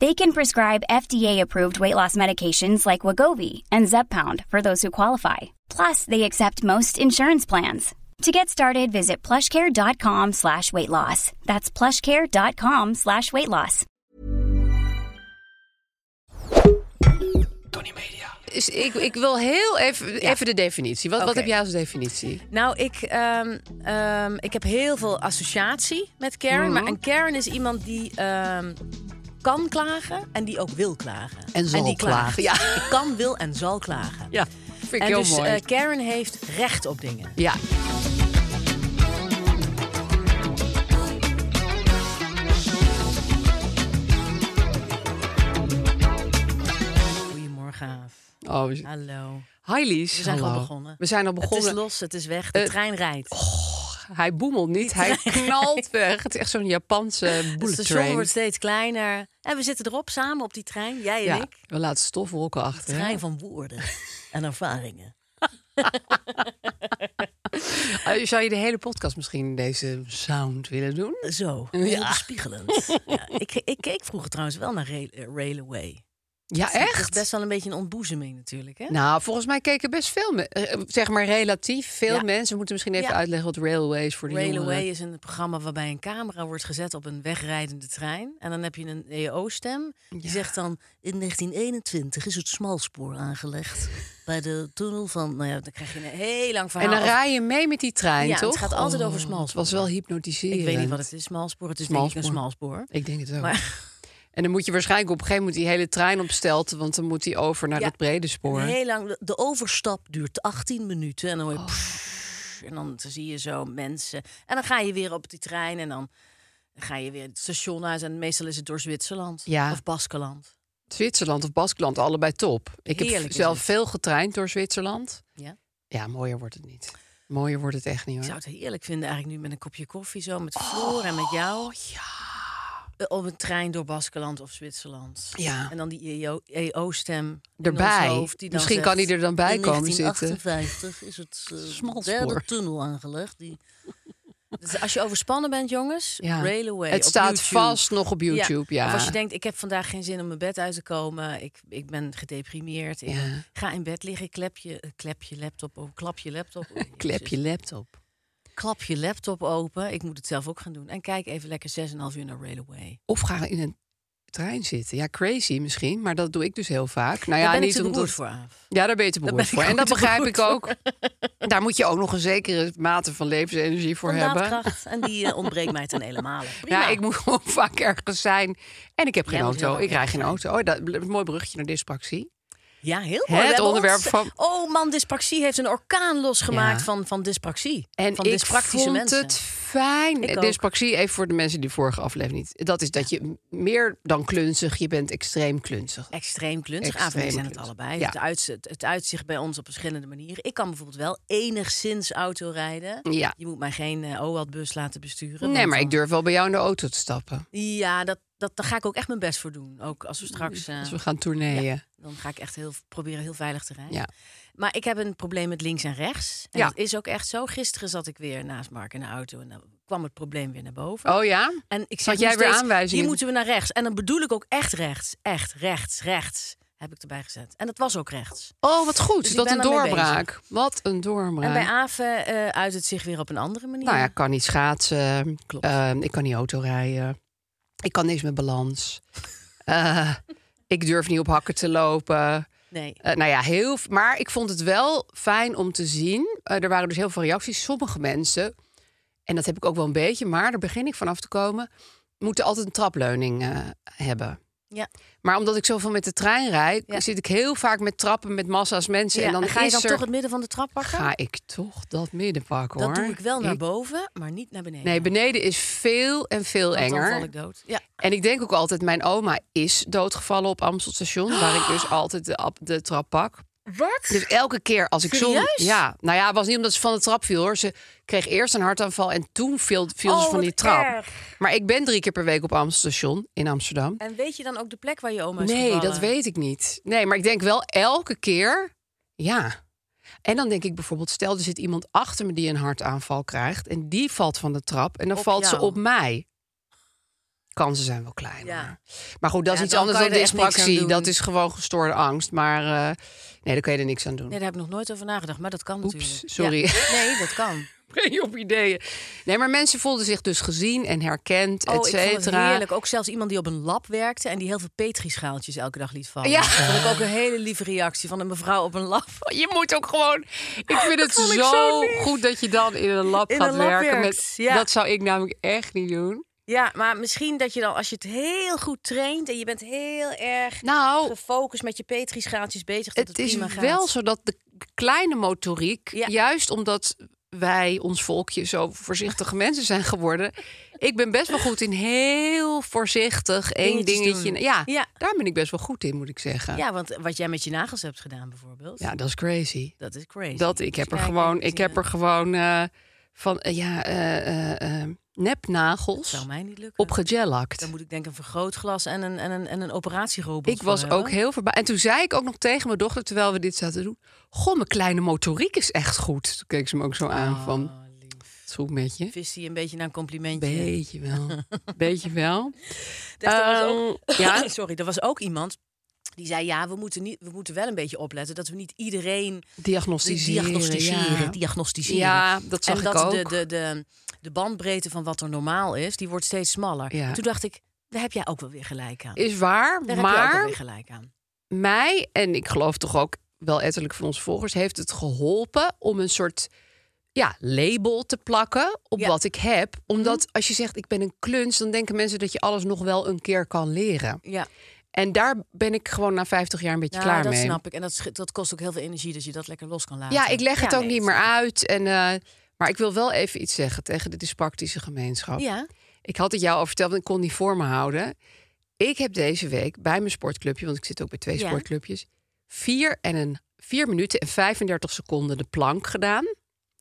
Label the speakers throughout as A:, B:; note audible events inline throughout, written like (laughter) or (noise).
A: They can prescribe FDA-approved weight loss medications like Wagovi and Zepbound for those who qualify. Plus, they accept most insurance plans. To get started, visit plushcare.com slash weight loss. That's plushcare.com slash weight loss.
B: Tony Media.
C: Is- Ik, ik wil heel even, even de definitie. Wat, wat
B: Oké.
C: heb jij als definitie?
B: Nou, ik, ehm, ehm, ik heb heel veel associatie met Karen.
C: Mhm.
B: Maar een Karen is iemand die ehm, kan klagen en die ook wil klagen.
C: En zal
B: die klaagt.
C: klagen, ja.
B: Die kan, wil en zal klagen.
C: Ja, vind ik
B: En
C: heel
B: dus
C: mooi.
B: eh, Karen heeft recht op dingen.
C: ja.
B: Goedemorgen, Aaf.
C: Oh, we-
B: Hallo.
C: hi Lies.
B: We zijn
C: Hallo.
B: gewoon begonnen.
C: We zijn al
B: Het is
C: begonnen.
B: los, het is weg, de
C: Eh,
B: trein rijdt.
C: Hij boemelt niet,
B: (laughs)
C: hij knalt weg. Het is echt zo'n Japanse
B: het
C: bullet
B: station
C: train.
B: wordt steeds kleiner. En we zitten erop samen op die trein, jij en
C: ja,
B: ik.
C: we laten stofwolken achter. hè?
B: Trein van
C: (laughs)
B: woorden en ervaringen.
C: Eh, Zou je de hele podcast misschien in deze sound willen doen?
B: Zo, heel bespiegelend. ja, ik, ik keek vroeger trouwens wel naar Rail- eh, Railway.
C: Ja,
B: Dat is
C: echt?
B: best wel een beetje een ontboezeming natuurlijk, hè?
C: Nou, volgens mij keken best veel, me- eh, zeg maar relatief veel
B: Ja.
C: mensen. We moeten misschien even
B: Ja.
C: uitleggen wat railways voor de
B: Railway
C: jongeren.
B: is een programma waarbij een camera wordt gezet op een wegrijdende trein. En dan heb je een EO-stem. Die zegt dan, in 1921 is het smalspoor aangelegd. Bij de tunnel van, nou ja, dan krijg je een heel lang
C: En
B: verhaal.
C: dan
B: over-
C: rij je mee met die trein,
B: Ja, het
C: toch?
B: gaat altijd over
C: smal. Het
B: smalspoor.
C: was wel hypnotiserend.
B: Ik weet niet wat het is, smalspoor. Het is denk ik een smalspoor.
C: Ik denk het ook.
B: Maar
C: (laughs) En dan moet je waarschijnlijk op een gegeven moment die hele trein opstelten, want dan moet die over naar
B: Ja.
C: dat brede spoor.
B: een heel lang, de overstap duurt 18 minuten. En dan, hoor je pff, en dan zie je zo mensen. En dan ga je weer op die trein en dan ga je weer het station uit. En meestal is het door Zwitserland
C: Ja.
B: of Baskeland.
C: Zwitserland of Baskeland, allebei top. Ik
B: Heerlijk
C: heb
B: is
C: zelf
B: het.
C: veel getraind door Zwitserland.
B: Ja.
C: Ja, mooier wordt het niet. Mooier wordt het echt niet
B: Ik
C: hoor.
B: zou het heerlijk vinden eigenlijk nu met een kopje koffie zo, met Floor en met jou. Eh, Op een trein door Baskeland of Zwitserland.
C: Ja.
B: En dan die E EO-stem
C: Erbij. Misschien kan die er dan bij komen zitten."
B: In 1958 is
C: (laughs)
B: het eh,
C: Smalspoor.
B: derde tunnel
C: (laughs)
B: aangelegd. Die... Dus als je overspannen bent, jongens,
C: Ja.
B: Railway
C: Het
B: op
C: staat
B: YouTube.
C: vast nog op YouTube, ja.
B: Of als je denkt, ik heb vandaag geen zin om mijn bed uit te komen. Ik, ik ben gedeprimeerd. Ik
C: Ja.
B: eh, ga in bed liggen, klep je, eh, klep je laptop open. Klap je laptop
C: (laughs)
B: open.
C: Klep je laptop.
B: klap je laptop open. Ik moet het zelf ook gaan doen. En kijk even lekker 6,5 uur naar Railway.
C: Of ga in een trein zitten. Ja, crazy misschien, maar dat doe ik dus heel vaak. Nou ja,
B: Daar ben
C: niet
B: ik te
C: omdat-
B: beroerd voor af.
C: Ja, daar ben je te
B: Daar
C: beroerd
B: ben
C: voor.
B: ik
C: En
B: ook
C: dat
B: te
C: begrijp
B: beroerd
C: ik ook. (laughs) Daar moet je ook nog een zekere mate van levensenergie voor hebben.
B: Daadkracht. En die eh, ontbreekt mij ten helemaal. Prima.
C: Ja, ik moet (laughs) gewoon vaak ergens zijn. En ik heb geen
B: Jij moet heel
C: auto.
B: vaak
C: Ik rij
B: ergens
C: geen auto. Oh, dat een mooi brugje naar dyspraxie.
B: Ja, heel
C: Het
B: mooi. We hebben
C: onderwerp
B: ons-
C: van-
B: Oh man, dyspraxie heeft een orkaan losgemaakt
C: Ja.
B: van, van dyspraxie.
C: En
B: van
C: ik
B: dyspractische
C: vond
B: mensen.
C: het fijn.
B: Ik ook.
C: dyspraxie, even voor de mensen die de vorige aflevering niet... Dat is dat je m- meer dan klunzig, je bent extreem klunzig.
B: Extreem klunzig.
C: Extreem
B: Ah, wij zijn het
C: klunzig.
B: allebei.
C: Ja.
B: Het, uitzicht, het uitzicht bij ons op verschillende manieren. Ik kan bijvoorbeeld wel enigszins auto rijden.
C: Ja.
B: Je moet mij geen eh OAT-bus laten besturen.
C: Nee,
B: want
C: maar ik
B: dan-
C: durf wel bij jou in de auto te stappen.
B: Ja, dat, dat, daar ga ik ook echt mijn best voor doen. Ook als we straks... eh,
C: Mm, Als we gaan tourneeën.
B: Dan ga ik echt heel, proberen heel veilig te rijden.
C: Ja.
B: Maar ik heb een probleem met links en rechts. En
C: Ja.
B: dat is ook echt zo. Gisteren zat ik weer naast Mark in de auto en dan kwam het probleem weer naar boven.
C: Oh ja?
B: En
C: Had
B: ik zeg
C: jij
B: nog
C: weer
B: steeds,
C: aanwijzingen?
B: Hier moeten we naar rechts. En dan bedoel ik ook echt rechts. Echt rechts, rechts heb ik erbij gezet. En dat was ook rechts.
C: Oh, wat goed.
B: Dus ik
C: dat
B: ben
C: een
B: daarmee
C: doorbraak. Wat een doorbraak.
B: En bij Aave eh, uit het zich weer op een andere manier.
C: Nou ja, ik kan niet schaatsen.
B: Klopt.
C: Eh, ik kan niet autorijden.
B: (laughs)
C: Ik kan niks met balans. Eh, ik durf niet op hakken te lopen.
B: Nee.
C: Eh, nou ja, heel. v- Maar ik vond het wel fijn om te zien. Eh, er waren dus heel veel reacties. Sommige mensen, en dat heb ik ook wel een beetje, maar daar begin ik vanaf te komen, moeten altijd een trapleuning eh, hebben.
B: Ja.
C: Maar omdat ik zoveel met de trein rijd,
B: Ja.
C: zit ik heel vaak met trappen met massa's mensen.
B: Ja,
C: en dan
B: ga je
C: is
B: dan
C: er-
B: toch het midden van de trap pakken?
C: Ga ik toch dat midden pakken
B: dat
C: hoor.
B: doe ik wel naar boven, maar niet naar beneden.
C: Nee, beneden is veel en veel
B: Want
C: enger.
B: Dan val ik dood. Ja.
C: En ik denk ook altijd, mijn oma is doodgevallen op Amstelstation, waar ik
B: (gasps)
C: dus altijd de, ap- de trap pak.
B: Wat?
C: Dus elke keer als ik
B: Serieus?
C: soms- Ja, nou ja, het was niet omdat ze van de trap viel hoor. Ze kreeg eerst een hartaanval en toen viel, viel
B: Oh,
C: ze van die
B: wat
C: trap.
B: erg.
C: Maar ik ben drie keer per week op Amstelstation in Amsterdam.
B: En weet je dan ook de plek waar je oma is
C: Nee,
B: gevallen?
C: dat weet ik niet. Nee, maar ik denk wel elke keer, ja. En dan denk ik bijvoorbeeld, stel er zit iemand achter me die een hartaanval krijgt en die valt van de trap en dan
B: Op
C: valt ze
B: jou.
C: op mij. Kansen zijn wel klein.
B: Ja.
C: Maar, maar goed, dat
B: Ja,
C: is iets
B: dan
C: anders
B: kan
C: dan
B: je er echt niks aan
C: dyspraxie.
B: doen.
C: Dat is gewoon gestoorde angst. Maar eh, nee, daar kan je er niks aan doen. (laughs)
B: Nee, daar heb ik nog nooit over nagedacht, maar dat kan
C: Oeps,
B: natuurlijk.
C: sorry.
B: Ja. Nee, dat (laughs) kan.
C: breng je op ideeën. Nee, maar mensen voelden zich dus gezien en herkend,
B: Oh,
C: et
B: ik vond het
C: cetera.
B: heerlijk. Ook zelfs iemand die op een lab werkte en die heel veel petrischaaltjes elke dag liet vallen.
C: Ja.
B: Dat vond ik ook een hele lieve reactie van een mevrouw op een lab.
C: (laughs) Je moet ook gewoon. Ik vind het
B: vond ik
C: zo,
B: zo lief.
C: goed dat je dan in een lab
B: In
C: gaat
B: een lab
C: werken.
B: werkt, ja.
C: Dat zou ik namelijk echt niet doen.
B: (laughs) Ja, maar misschien dat je dan, als je het heel goed traint en je bent heel erg
C: Nou,
B: gefocust met je petrischaaltjes bezig, dat Oh. het,
C: het is
B: prima gaat.
C: wel zo dat de kleine motoriek,
B: Ja.
C: juist omdat wij, ons volkje, zo
B: (laughs)
C: voorzichtige mensen zijn geworden. Ik ben best wel goed in heel voorzichtig één
B: Dingetjes
C: dingetje.
B: doen.
C: Ja,
B: Ja.
C: daar ben ik best wel goed in, moet ik zeggen.
B: Ja, want wat jij met je nagels hebt gedaan bijvoorbeeld,
C: ja dat is crazy.
B: dat is crazy.
C: Dat ik heb er
B: Kijk,
C: gewoon,
B: even
C: ik heb
B: zien.
C: er gewoon eh, van eh, ja eh, eh, eh, nepnagels
B: zou mij niet lukken.
C: op gegellakt.
B: Dan moet ik denk ik een vergrootglas en een, en een, en een operatierobot
C: Ik
B: voor
C: was
B: hebben.
C: ook heel verbaasd. En toen zei ik ook nog tegen mijn dochter terwijl we dit zaten te doen: Goh, mijn kleine motoriek is echt goed. Toen keek ze me ook zo aan van,
B: Oh, lief.
C: het is goed met je.
B: Vist hij een beetje naar een complimentje.
C: Beetje
B: (laughs)
C: wel, beetje wel.
B: Dus er was ook-
C: Ehm, ja,
B: (laughs) Sorry, er was ook iemand die zei: Ja, we moeten, niet, we moeten wel een beetje opletten dat we niet iedereen
C: diagnosticeren.
B: diagnosticeren.
C: ja.
B: diagnosticeren.
C: Ja, dat zag
B: en
C: ik
B: dat
C: ook.
B: De, de, de, de bandbreedte van wat er normaal is, die wordt steeds smaller.
C: Ja.
B: Toen dacht ik: Daar heb jij ook wel weer gelijk aan.
C: Is waar,
B: Daar heb je ook wel
C: maar
B: weer gelijk aan.
C: mij, en ik geloof toch ook wel etterlijk van onze volgers, heeft het geholpen om een soort ja, label te plakken op
B: Ja. Mhm.
C: wat ik heb. Omdat als je zegt ik ben een kluns, dan denken mensen dat je alles nog wel een keer kan leren.
B: Ja,
C: En daar ben ik gewoon na 50 jaar een beetje
B: Nou,
C: klaar
B: dat
C: mee.
B: snap ik. En dat, sch- dat kost ook heel veel energie dat je dat lekker los kan laten.
C: Ja, ik leg het ook
B: nee,
C: niet
B: dat
C: meer
B: snap
C: uit. En, eh, maar ik wil wel even iets zeggen tegen de dyspractische gemeenschap.
B: ik. Ja,
C: Ik had het jou al verteld, want ik kon niet voor me houden. Ik heb deze week bij mijn sportclubje, want ik zit ook bij twee
B: Ja.
C: sportclubjes, vier, en een, vier minuten en 35 seconden de plank gedaan.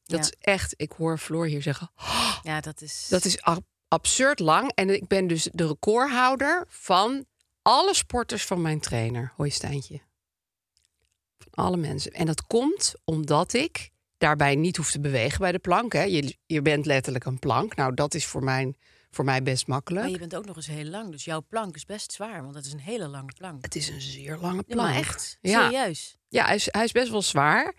C: Dat
B: Ja.
C: is echt, ik hoor Floor hier zeggen,
B: ja, dat is.
C: dat is ab- absurd lang. En ik ben dus de recordhouder van alle sporters van mijn trainer. Hoi Stijntje. Van alle mensen. En dat komt omdat ik daarbij niet hoef te bewegen bij de plank. Hè. Je, je bent letterlijk een plank. Nou, dat is voor, mijn, voor mij best makkelijk.
B: Maar je bent ook nog eens heel lang, dus jouw plank is best zwaar, want dat is een hele lange plank.
C: Het is een zeer lange
B: Ja,
C: plank.
B: maar echt?
C: Ja,
B: Serieus?
C: ja hij, is, hij is best wel zwaar.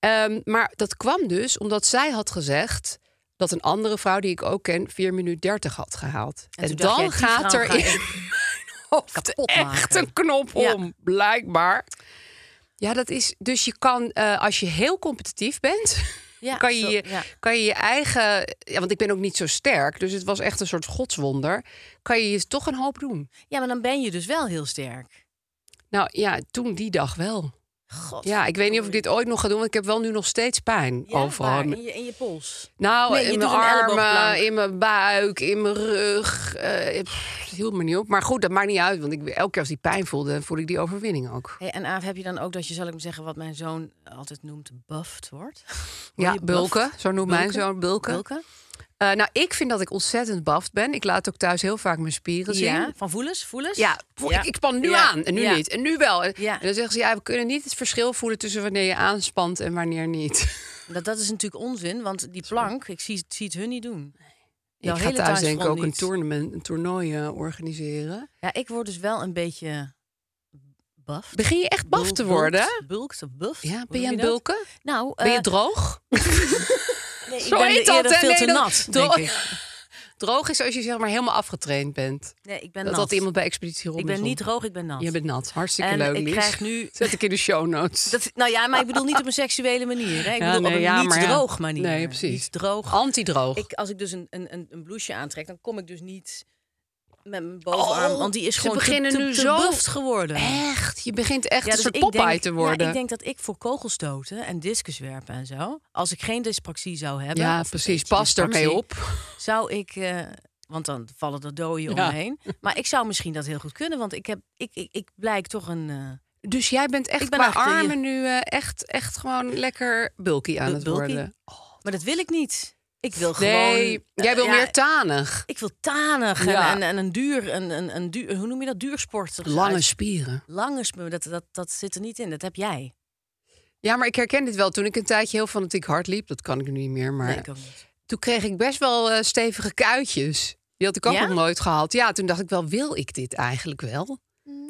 C: Ehm, maar dat kwam dus omdat zij had gezegd dat een andere vrouw die ik ook ken 4 minuut 30 had gehaald.
B: En toen dacht
C: dan
B: jij, die
C: gaat
B: vrouw
C: er
B: ga
C: (laughs) in
B: ik
C: hoofd
B: kapot
C: echt
B: maken.
C: een knop
B: Ja.
C: om, blijkbaar. Ja, dat is dus je kan eh, als je heel competitief bent,
B: Ja,
C: kan, je
B: zo-
C: je,
B: ja.
C: kan je je eigen. Ja, want ik ben ook niet zo sterk, dus het was echt een soort godswonder. Kan je je toch een hoop doen?
B: Ja, maar dan ben je dus wel heel sterk.
C: Nou ja, toen die dag wel.
B: God.
C: Ja, ik weet niet of ik dit ooit nog ga doen, want ik heb wel nu nog steeds pijn
B: Ja,
C: overal.
B: waar? In je, in je pols.
C: Nou,
B: Nee, je
C: in
B: doet
C: mijn
B: een elleboogplank.
C: armen, in mijn buik, in mijn rug. eh pff, het hield me niet op. Maar goed, dat maakt niet uit, want ik, elke keer als die pijn voelde, voelde ik die overwinning ook.
B: Hey, en Aaf, heb je dan ook dat je, zal ik hem zeggen, wat mijn zoon altijd noemt, buffed
C: (laughs)
B: wordt? Word
C: Ja,
B: je
C: bulken.
B: buffed?
C: Zo noemt mijn
B: Bulken?
C: zoon bulken.
B: Bulken?
C: Eh, nou, ik vind dat ik ontzettend baft ben. Ik laat ook thuis heel vaak mijn spieren
B: Ja,
C: zien.
B: van voelens, voelens?
C: Ja, voor- Ik, ik span nu
B: Ja.
C: aan en nu
B: Ja.
C: niet en nu wel. En,
B: Ja.
C: en dan zeggen ze, ja, we kunnen niet het verschil voelen tussen wanneer je aanspant en wanneer niet.
B: Dat, dat is natuurlijk onzin, want die plank, ik zie, zie het hun niet doen. Jouw
C: ik ga
B: hele
C: thuis denk ik
B: thuisfront
C: ook een,
B: niet.
C: toernooi, een toernooi eh, organiseren.
B: Ja, ik word dus wel een beetje buffed.
C: Begin je echt baf te
B: Bul- bulkt,
C: worden?
B: Bulkt, of buffed?
C: Ja,
B: Hoe
C: ben
B: noem
C: je aan
B: dat?
C: het bulken?
B: Nou,
C: ben je
B: eh,
C: droog?
B: nee, ik
C: Zo
B: ben
C: heet
B: eerder
C: dat, hè?
B: veel
C: (laughs)
B: te
C: Nee, dat-
B: nat, denk
C: droog.
B: ik.
C: Droog is als je zeg maar helemaal afgetraind bent.
B: Nee, ik ben
C: Dat
B: nat.
C: had iemand bij Expeditie
B: ik
C: Robinson.
B: ben niet droog, ik ben nat.
C: Je bent nat. Hartstikke
B: En
C: leuk,
B: ik
C: Lies. (laughs)
B: krijg nu-
C: Zet ik in de show notes.
B: Dat, nou ja, maar ik bedoel niet op een seksuele manier. Hè? Ik
C: Ja,
B: bedoel
C: nee,
B: op een
C: ja,
B: niet
C: maar ja.
B: droog manier.
C: Nee, precies.
B: Niet droog.
C: Antidroog.
B: Ik, als ik dus een, een, een, een blouseje aantrek, dan kom ik dus niet met mijn bovenarm.
C: Oh,
B: want die is
C: ze
B: gewoon te-
C: beginnen
B: te,
C: nu
B: te
C: zo-
B: buffed geworden.
C: Echt? Je begint echt
B: eh, Ja,
C: een
B: dus
C: soort
B: ik
C: pop
B: denk-
C: uit te worden.
B: Ja, ik denk dat ik voor kogelstoten en discuswerpen en zo... als ik geen dyspraxie zou hebben...
C: Ja,
B: of
C: precies.
B: eentje
C: Pas ermee
B: dyspraxie,
C: op.
B: Zou ik... eh, want dan vallen er dooien
C: Ja.
B: omheen. Maar ik zou misschien dat heel goed kunnen. Want ik, heb, ik, ik, ik blijk toch een... eh,
C: Dus jij bent echt
B: Ik ben
C: qua
B: eigenlijk-
C: armen nu eh, echt, echt gewoon lekker bulky aan
B: Bu-
C: het
B: bulky? Oh,
C: worden.
B: maar dat wil ik niet. Ik wil gewoon...
C: Nee, jij wil
B: Ja,
C: meer tanig.
B: Ik wil tanig en-
C: Ja.
B: en, en, een duur, een, een, een duur, hoe noem je dat? Duursport.
C: Lange spieren.
B: Lange sp- dat, dat, dat zit er niet in. Dat heb jij.
C: Ja, maar ik herken dit wel. Toen ik een tijdje heel fanatiek hard liep, dat kan ik nu niet meer. Maar
B: Nee, ik ook niet.
C: toen kreeg ik best wel eh, stevige kuitjes. Die had ik ook
B: Ja?
C: nog nooit gehad. Ja, toen dacht ik wel, wil ik dit eigenlijk wel?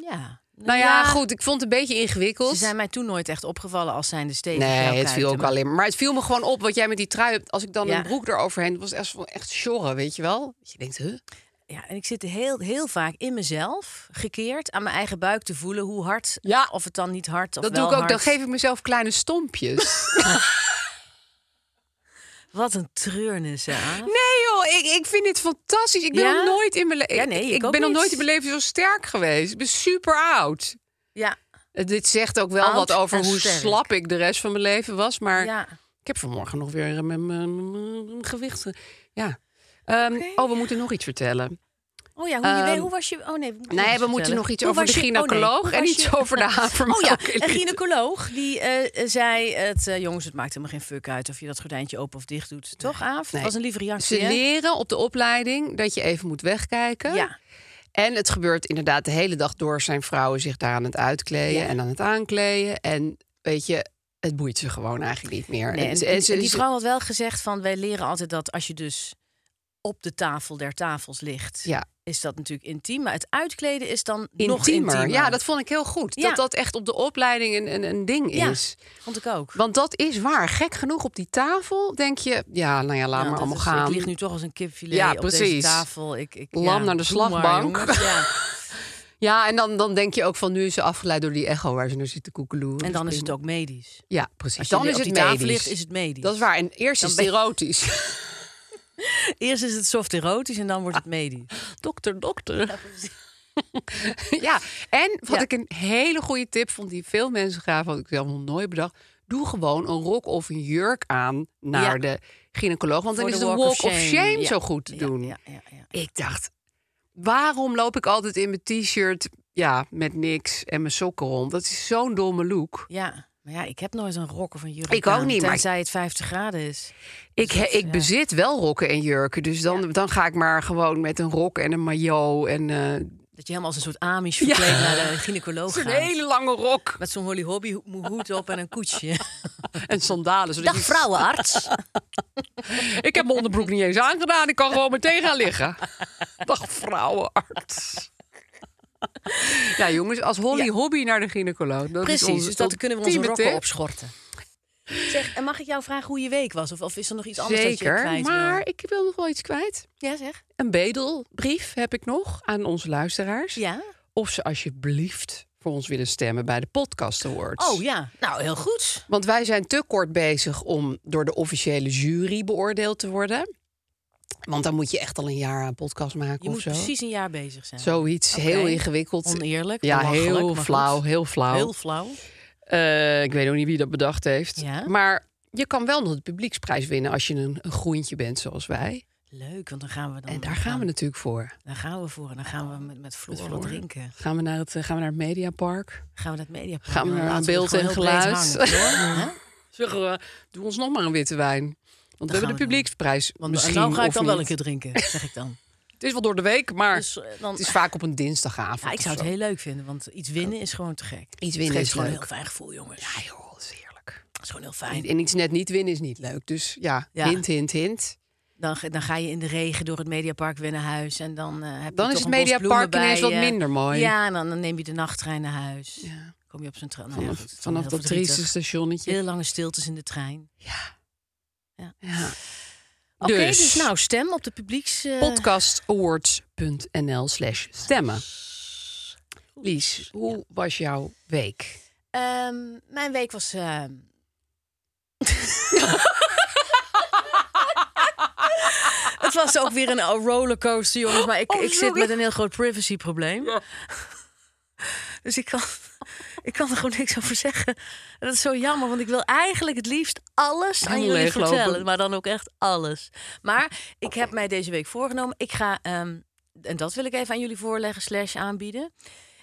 B: Ja.
C: Nou ja, goed, ik vond het een beetje ingewikkeld.
B: Ze zijn mij toen nooit echt opgevallen als zijnde stevig.
C: Nee, het
B: kuiten,
C: viel ook
B: maar-
C: alleen maar. Maar het viel me gewoon op wat jij met die trui hebt. Als ik dan
B: Ja.
C: een broek eroverheen, dat was echt, wel echt sjorren, weet je wel? Dat Je denkt, huh?
B: Ja, en ik zit heel, heel vaak in mezelf gekeerd aan mijn eigen buik te voelen hoe hard,
C: Ja.
B: of het dan niet hard of
C: Dat
B: wel
C: doe ik ook. Dan
B: hard.
C: geef ik mezelf kleine
B: (laughs)
C: stompjes.
B: Wat een treurnis, hè?
C: nee joh, ik, ik vind dit fantastisch. Ik ben
B: Ja?
C: nog nooit in mijn leven...
B: Ja, nee, ik
C: ik
B: ook
C: ben nog
B: niet.
C: nooit in mijn leven zo sterk geweest. Ik ben super oud.
B: Ja,
C: Eh, Dit zegt ook wel
B: Oud
C: wat over
B: en
C: hoe
B: sterk.
C: slap ik de rest van mijn leven was. Maar
B: ja.
C: ik heb vanmorgen nog weer eh, mijn- mijn mijn- mijn gewicht... ge- Ja. Ehm, Oh, we moeten nog iets vertellen.
B: Oh ja, hoe, je weet-
C: Ehm,
B: hoe was je... Oh nee, we moeten,
C: Nee,
B: nog
C: we
B: iets
C: moeten
B: vertellen.
C: nog iets
B: Hoe
C: over
B: was
C: de
B: je- oh, nee,
C: gynaecoloog
B: hoe
C: en
B: was
C: niet
B: je-
C: over de havermelk
B: (laughs) Oh ja,
C: elite.
B: een gynaecoloog die eh, zei... Het, eh, jongens, het maakt helemaal geen fuck uit of je dat gordijntje open of dicht doet. Toch, Aaf?
C: nee.
B: was een lieve
C: Ze
B: reactie, hè?
C: leren op de opleiding dat je even moet wegkijken.
B: Ja,
C: En het gebeurt inderdaad de hele dag door zijn vrouwen zich daar aan het uitkleden
B: Ja.
C: en aan het aankleden. En weet je, het boeit ze gewoon eigenlijk niet meer.
B: nee,
C: En ze-
B: en,
C: en ze-
B: die
C: ze-
B: vrouw had wel gezegd van... wij leren altijd dat als je dus op de tafel der tafels ligt...
C: Ja,
B: is dat natuurlijk intiem. Maar het uitkleden is dan nog
C: intiemer.
B: intiemer.
C: Ja, dat vond ik heel goed.
B: Ja.
C: Dat dat echt op de opleiding een, een, een ding
B: Ja.
C: is.
B: vond ik ook.
C: Want dat is waar. Gek genoeg op die tafel denk je, ja, nou ja, laat
B: Nou,
C: maar
B: dat
C: allemaal
B: is-
C: gaan.
B: Ik lig nu toch als een kipfilet
C: Ja,
B: op deze
C: precies.
B: tafel. Ik, ik,
C: Lam
B: ja,
C: naar de
B: doe maar,
C: slagbank. (laughs)
B: jongens. ja.
C: Ja, en dan, dan denk je ook van nu is ze afgeleid door die echo waar ze naar zit te koekeloeren.
B: En dan is het
C: prima.
B: ook medisch.
C: Ja, precies.
B: Als je
C: Dan
B: li-
C: is
B: op
C: het
B: die tafel
C: medisch.
B: ligt, is het medisch.
C: Dat is waar. En eerst
B: Dan
C: is het
B: ben je- (laughs)
C: erotisch. (laughs)
B: Eerst is het soft erotisch en dan wordt het
C: Ah,
B: medisch.
C: dokter, dokter. (laughs) Ja, en wat
B: Ja.
C: ik een hele goede tip vond die veel mensen gaven, wat ik zelf nog nooit bedacht. Doe gewoon een rok of een jurk aan naar
B: Ja.
C: de gynaecoloog. Want
B: Voor
C: dan is
B: de
C: de walk, of shame,
B: Ja,
C: zo goed te
B: ja,
C: doen.
B: Ja, ja, ja.
C: Ik dacht, waarom loop ik altijd in mijn t-shirt ja, met niks en mijn sokken rond? Dat is zo'n domme look.
B: Ja, maar ja, ik heb nooit een rok of een jurk
C: Ik ook
B: aan,
C: niet, maar-
B: Tenzij het 50 graden is.
C: Ik, he- ik bezit wel rokken en jurken, dus dan, dan ga ik maar gewoon met een rok en een maillot en eh,
B: Dat je helemaal als een soort Amish verkleed naar de
C: (laughs)
B: gynaecoloog
C: zo'n
B: gaat.
C: hele lange rok
B: Met zo'n holly hobby hoed op en een koetsje.
C: en sandalen. Zodat
B: Dag
C: je-
B: (laughs) vrouwenarts.
C: Ik heb mijn onderbroek niet eens aangedaan. Ik kan gewoon meteen gaan
B: (laughs)
C: liggen. Dag vrouwenarts. Ja, jongens, als Holly
B: Ja.
C: hobby naar de gynaecoloog. Dat is
B: Precies,
C: onze
B: dus dat kunnen we onze
C: ultieme
B: rokken
C: tip.
B: opschorten. Zeg, en mag ik jou vragen hoe je week was? Of, of is er nog iets anders dat je
C: Zeker,
B: kwijt
C: maar ik wil nog wel iets kwijt.
B: wil? Ja, zeg.
C: Een bedelbrief heb ik nog aan onze luisteraars.
B: Ja?
C: Of ze alsjeblieft voor ons willen stemmen bij de Podcast Awards.
B: Oh ja, nou heel goed.
C: Want wij zijn te kort bezig om door de officiële jury beoordeeld te worden. Want dan moet je echt al een jaar aan podcast maken
B: Je
C: of
B: moet
C: zo.
B: precies een jaar bezig zijn.
C: Zoiets
B: Oké.
C: heel ingewikkeld.
B: Oneerlijk,
C: Ja,
B: belachelijk, maar
C: heel
B: goed.
C: flauw, heel flauw.
B: Heel flauw.
C: Eh, ik weet ook niet wie dat bedacht heeft.
B: Ja.
C: Maar je kan wel nog de publieksprijs winnen als je een, een groentje bent zoals wij.
B: Leuk, want dan gaan we dan.
C: En daar gaan we natuurlijk voor.
B: Daar gaan we voor. En dan gaan we met, met Floor
C: Met
B: wat
C: Floor.
B: drinken.
C: Gaan we naar het, eh, gaan we naar het Mediapark?
B: Gaan we naar het mediapark.
C: Gaan we
B: Dan
C: naar
B: laten
C: beeld
B: het
C: en
B: gewoon heel breed
C: geluid.
B: hangen,
C: (laughs)
B: hoor. Hè?
C: Zeggen we, doe ons nog maar een witte wijn. Want we
B: gaan
C: hebben
B: we
C: de
B: doen.
C: publieksprijs.
B: Want
C: misschien
B: nou ga ik
C: of
B: dan wel een
C: niet.
B: keer drinken, zeg ik dan.
C: Het is wel door de week, maar
B: Dus, eh, dan-
C: het is vaak op een dinsdagavond.
B: Ja, ik zou
C: of
B: het
C: zo.
B: heel leuk vinden, want iets winnen is gewoon te gek.
C: Iets
B: Het
C: winnen
B: geeft
C: is
B: gewoon
C: leuk.
B: een heel fijn gevoel, jongens.
C: Ja, joh, dat is heerlijk.
B: Dat is gewoon heel
C: En,
B: fijn.
C: en iets net niet winnen is niet leuk. Dus ja,
B: Ja.
C: hint, hint, hint.
B: Dan, ga- dan ga je in de regen door het Mediapark weer naar huis. En dan eh, heb je
C: Dan is
B: toch
C: het
B: een bos
C: Mediapark
B: bloemen bij
C: ineens wat
B: je.
C: minder mooi.
B: Ja, en dan, dan neem je de nachttrein naar huis.
C: Ja.
B: Kom je op zijn trein. Nou,
C: Vanaf, vanaf dat trieste stationnetje.
B: Heel lange stiltes in de trein.
C: Ja.
B: Oké,
C: Dus.
B: dus. nou, stem op de publieks... eh,
C: podcastawards.nl slash stemmen. Lies, hoe was jouw week?
B: ehm, mijn week was... ehm, Het was ook weer een rollercoaster, jongens. Maar ik, ik zit met een heel groot privacyprobleem. (laughs) Dus ik kan, ik kan er gewoon niks over zeggen. En dat is zo jammer, want ik wil eigenlijk het liefst alles aan
C: Helemaal
B: jullie
C: leeglopen.
B: vertellen. Maar dan ook echt alles. Maar ik heb mij deze week voorgenomen. Ik ga, ehm, en dat wil ik even aan jullie voorleggen, slash aanbieden.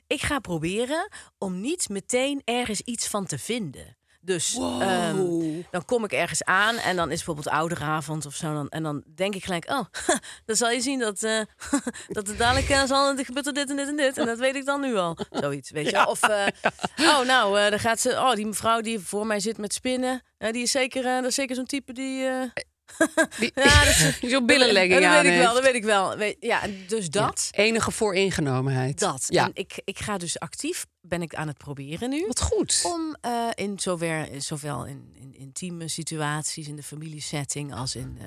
B: Ik ga proberen om niet meteen ergens iets van te vinden. Dus ehm, dan kom ik ergens aan en dan is bijvoorbeeld ouderavond of zo. Dan, en dan denk ik gelijk, oh, (laughs) dan zal je zien dat, eh, (laughs) dat het dadelijk eh, zal, er gebeurt er dit en dit en dit. En dat weet ik dan nu al. Zoiets, weet je. wel. Of, eh, oh nou, eh dan gaat ze, oh die mevrouw die voor mij zit met spinnen. eh, die is zeker, eh, dat is zeker zo'n type die... eh,
C: Die,
B: Ja,
C: (laughs)
B: dat is-
C: die zo'n billenlegging
B: Ja,
C: aan
B: dat weet ik wel,
C: heeft.
B: dat weet ik wel. Weet- ja, en dus dat.
C: Enige vooringenomenheid.
B: Dat.
C: Ja.
B: En ik, ik ga dus actief, ben ik aan het proberen nu.
C: Wat goed.
B: Om eh, in zover, zowel in, in intieme situaties, in de familiesetting, als in, eh,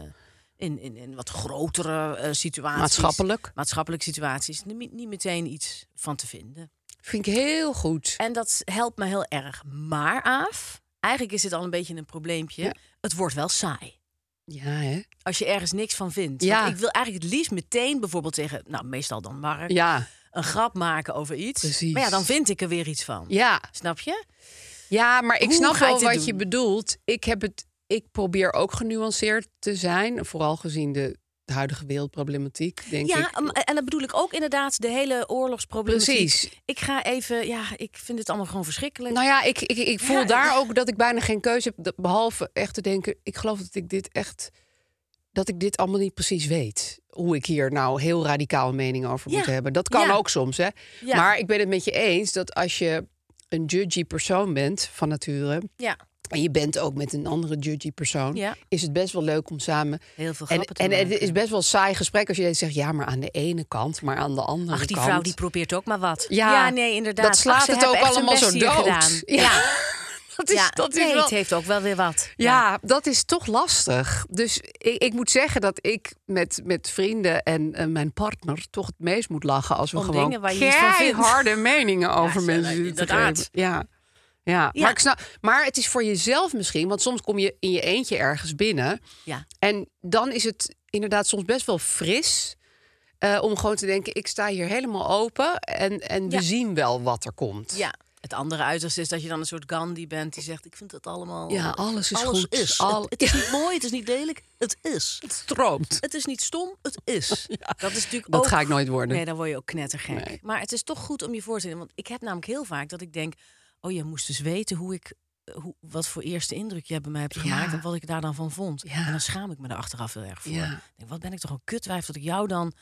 B: in, in, in wat grotere eh, situaties.
C: Maatschappelijk.
B: Maatschappelijke situaties. Niet, niet meteen iets van te vinden.
C: Vind ik heel goed.
B: En dat helpt me heel erg. Maar af, eigenlijk is dit al een beetje een probleempje.
C: Ja.
B: Het wordt wel saai.
C: Ja, hè?
B: Als je ergens niks van vindt.
C: Ja.
B: Want ik wil eigenlijk het liefst meteen bijvoorbeeld zeggen, nou meestal dan Mark,
C: Ja,
B: een grap maken over iets.
C: Precies.
B: Maar ja, dan vind ik er weer iets van.
C: ja.
B: Snap je?
C: Ja, maar ik
B: Hoe
C: snap
B: ga je
C: wel
B: dit
C: wat
B: doen?
C: je bedoelt. Ik, heb het, ik probeer ook genuanceerd te zijn. Vooral gezien de, de huidige wereldproblematiek, denk
B: ja,
C: ik.
B: en- en dat bedoel ik ook inderdaad de hele oorlogsproblematiek.
C: Precies.
B: Ik ga even, ja, ik vind het allemaal gewoon verschrikkelijk.
C: Nou ja, ik, ik, ik voel
B: Ja,
C: daar ook dat ik bijna geen keuze heb. dat- Behalve echt te denken, ik geloof dat ik dit echt... dat ik dit allemaal niet precies weet. Hoe ik hier nou heel radicaal een mening over
B: Ja.
C: moet hebben. Dat kan
B: Ja.
C: ook soms, hè.
B: Ja.
C: Maar ik ben het met je eens dat als je een judgy persoon bent van nature...
B: ja,
C: en je bent ook met een andere judgy persoon...
B: Ja.
C: is het best wel leuk om samen...
B: heel veel
C: En,
B: grappen te
C: en
B: maken.
C: het is best wel een saai gesprek als je zegt... ja, maar aan de ene kant, maar aan de andere
B: Ach, die
C: kant...
B: vrouw die probeert ook maar wat.
C: Ja,
B: nee, inderdaad.
C: dat slaat
B: Ach, ze
C: het
B: hebben
C: ook
B: echt hun
C: allemaal
B: best
C: zo
B: hier
C: dood. (laughs)
B: gedaan.
C: Ja.
B: Ja.
C: Dat is,
B: Ja.
C: dat is
B: nee,
C: wel...
B: het heeft ook wel weer wat.
C: Ja, dat is toch lastig. Dus ik, ik moet zeggen dat ik met, met vrienden en eh, mijn partner toch het meest moet lachen als we
B: Om
C: gewoon
B: dingen waar je niet van vindt.
C: harde meningen over
B: (laughs) ja,
C: mensen zitten te
B: inderdaad.
C: geven. Ja. Ja.
B: Ja.
C: Maar, ik snap, maar het is voor jezelf misschien, want soms kom je in je eentje ergens binnen
B: Ja.
C: en dan is het inderdaad soms best wel fris eh, om gewoon te denken: ik sta hier helemaal open en, en
B: Ja.
C: we zien wel wat er komt.
B: Ja. Het andere uiterste is dat je dan een soort Gandhi bent die zegt: Ik vind het allemaal.
C: Ja, alles is
B: alles
C: goed.
B: Is.
C: Al-
B: Het, het is niet mooi, het is niet lelijk, het is.
C: (laughs) Het stroomt.
B: Het is niet stom, het is. Dat is natuurlijk
C: Dat
B: ook-
C: ga ik nooit worden.
B: Nee, dan word je ook knettergek.
C: Nee.
B: Maar het is toch goed om je voor te stellen. Want ik heb namelijk heel vaak dat ik denk... oh, je moest dus weten hoe ik, eh, hoe, wat voor eerste indruk je bij mij hebt gemaakt...
C: Ja.
B: en wat ik daar dan van vond.
C: Ja.
B: En dan schaam ik me daar achteraf heel erg voor.
C: Ja.
B: Ik Denk, wat ben ik toch een kutwijf dat ik jou dan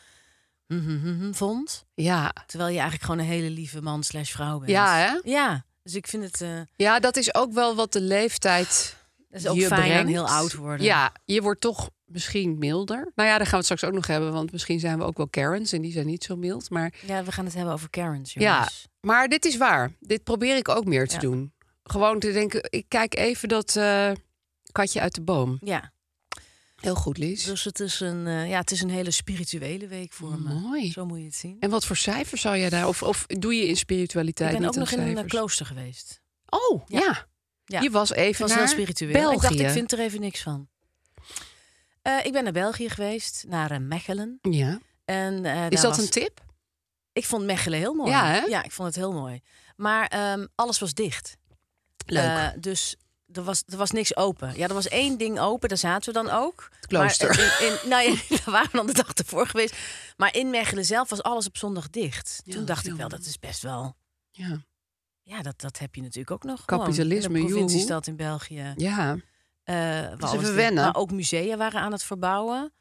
B: hm, hm, hm, hm, vond...
C: Ja.
B: terwijl je eigenlijk gewoon een hele lieve man slash vrouw bent.
C: Ja, hè?
B: Ja, dus ik vind het... eh,
C: Ja, dat is ook wel wat de leeftijd.
B: dat is ook
C: je
B: fijn aan
C: brengt.
B: heel oud worden.
C: Ja, je wordt toch misschien milder. Nou ja, daar gaan we het straks ook nog hebben, want misschien zijn we ook wel Karens en die zijn niet zo mild. Maar
B: Ja, we gaan het hebben over Karens,
C: ja,
B: jongens.
C: maar dit is waar. Dit probeer ik ook meer te
B: Ja.
C: doen. Gewoon te denken, ik kijk even dat eh, katje uit de boom.
B: Ja,
C: Heel goed, Lies.
B: dus het is, een, eh, ja, het is een hele spirituele week voor me.
C: Mooi.
B: Zo moet je het zien.
C: En wat voor cijfers zou jij daar? Of, of doe je in spiritualiteit
B: Ik ben ook
C: niet
B: nog
C: aan
B: in een eh,
C: cijfers?
B: klooster geweest.
C: Oh, ja.
B: Ja.
C: Je was even
B: Het was
C: naar
B: heel spiritueel.
C: België.
B: Ik dacht, ik vind er even niks van. Eh, ik ben naar België geweest, naar eh, Mechelen.
C: Ja.
B: En, eh, daar
C: Is dat
B: was-
C: een tip?
B: Ik vond Mechelen heel mooi.
C: Ja, hè?
B: ik vond het heel mooi. Maar ehm, alles was dicht. Eh, dus er was, er was niks open. Ja, er was één ding open, daar zaten we dan ook. Het
C: klooster.
B: Maar in, in, nou ja, (laughs) daar waren we dan de dag ervoor geweest. Maar in Mechelen zelf was alles op zondag dicht.
C: Ja,
B: Toen
C: dat is
B: dacht ik wel,
C: jammer.
B: dat is best wel...
C: (laughs) eh, ja.
B: Ja, dat, dat heb je natuurlijk ook nog.
C: Kapitalisme,
B: gewoon. In een
C: joehoe.
B: provinciestad in België.
C: Ja.
B: Eh, waar
C: is
B: alles
C: even
B: dicht-
C: wennen.
B: Maar Nou, ook musea waren aan het verbouwen.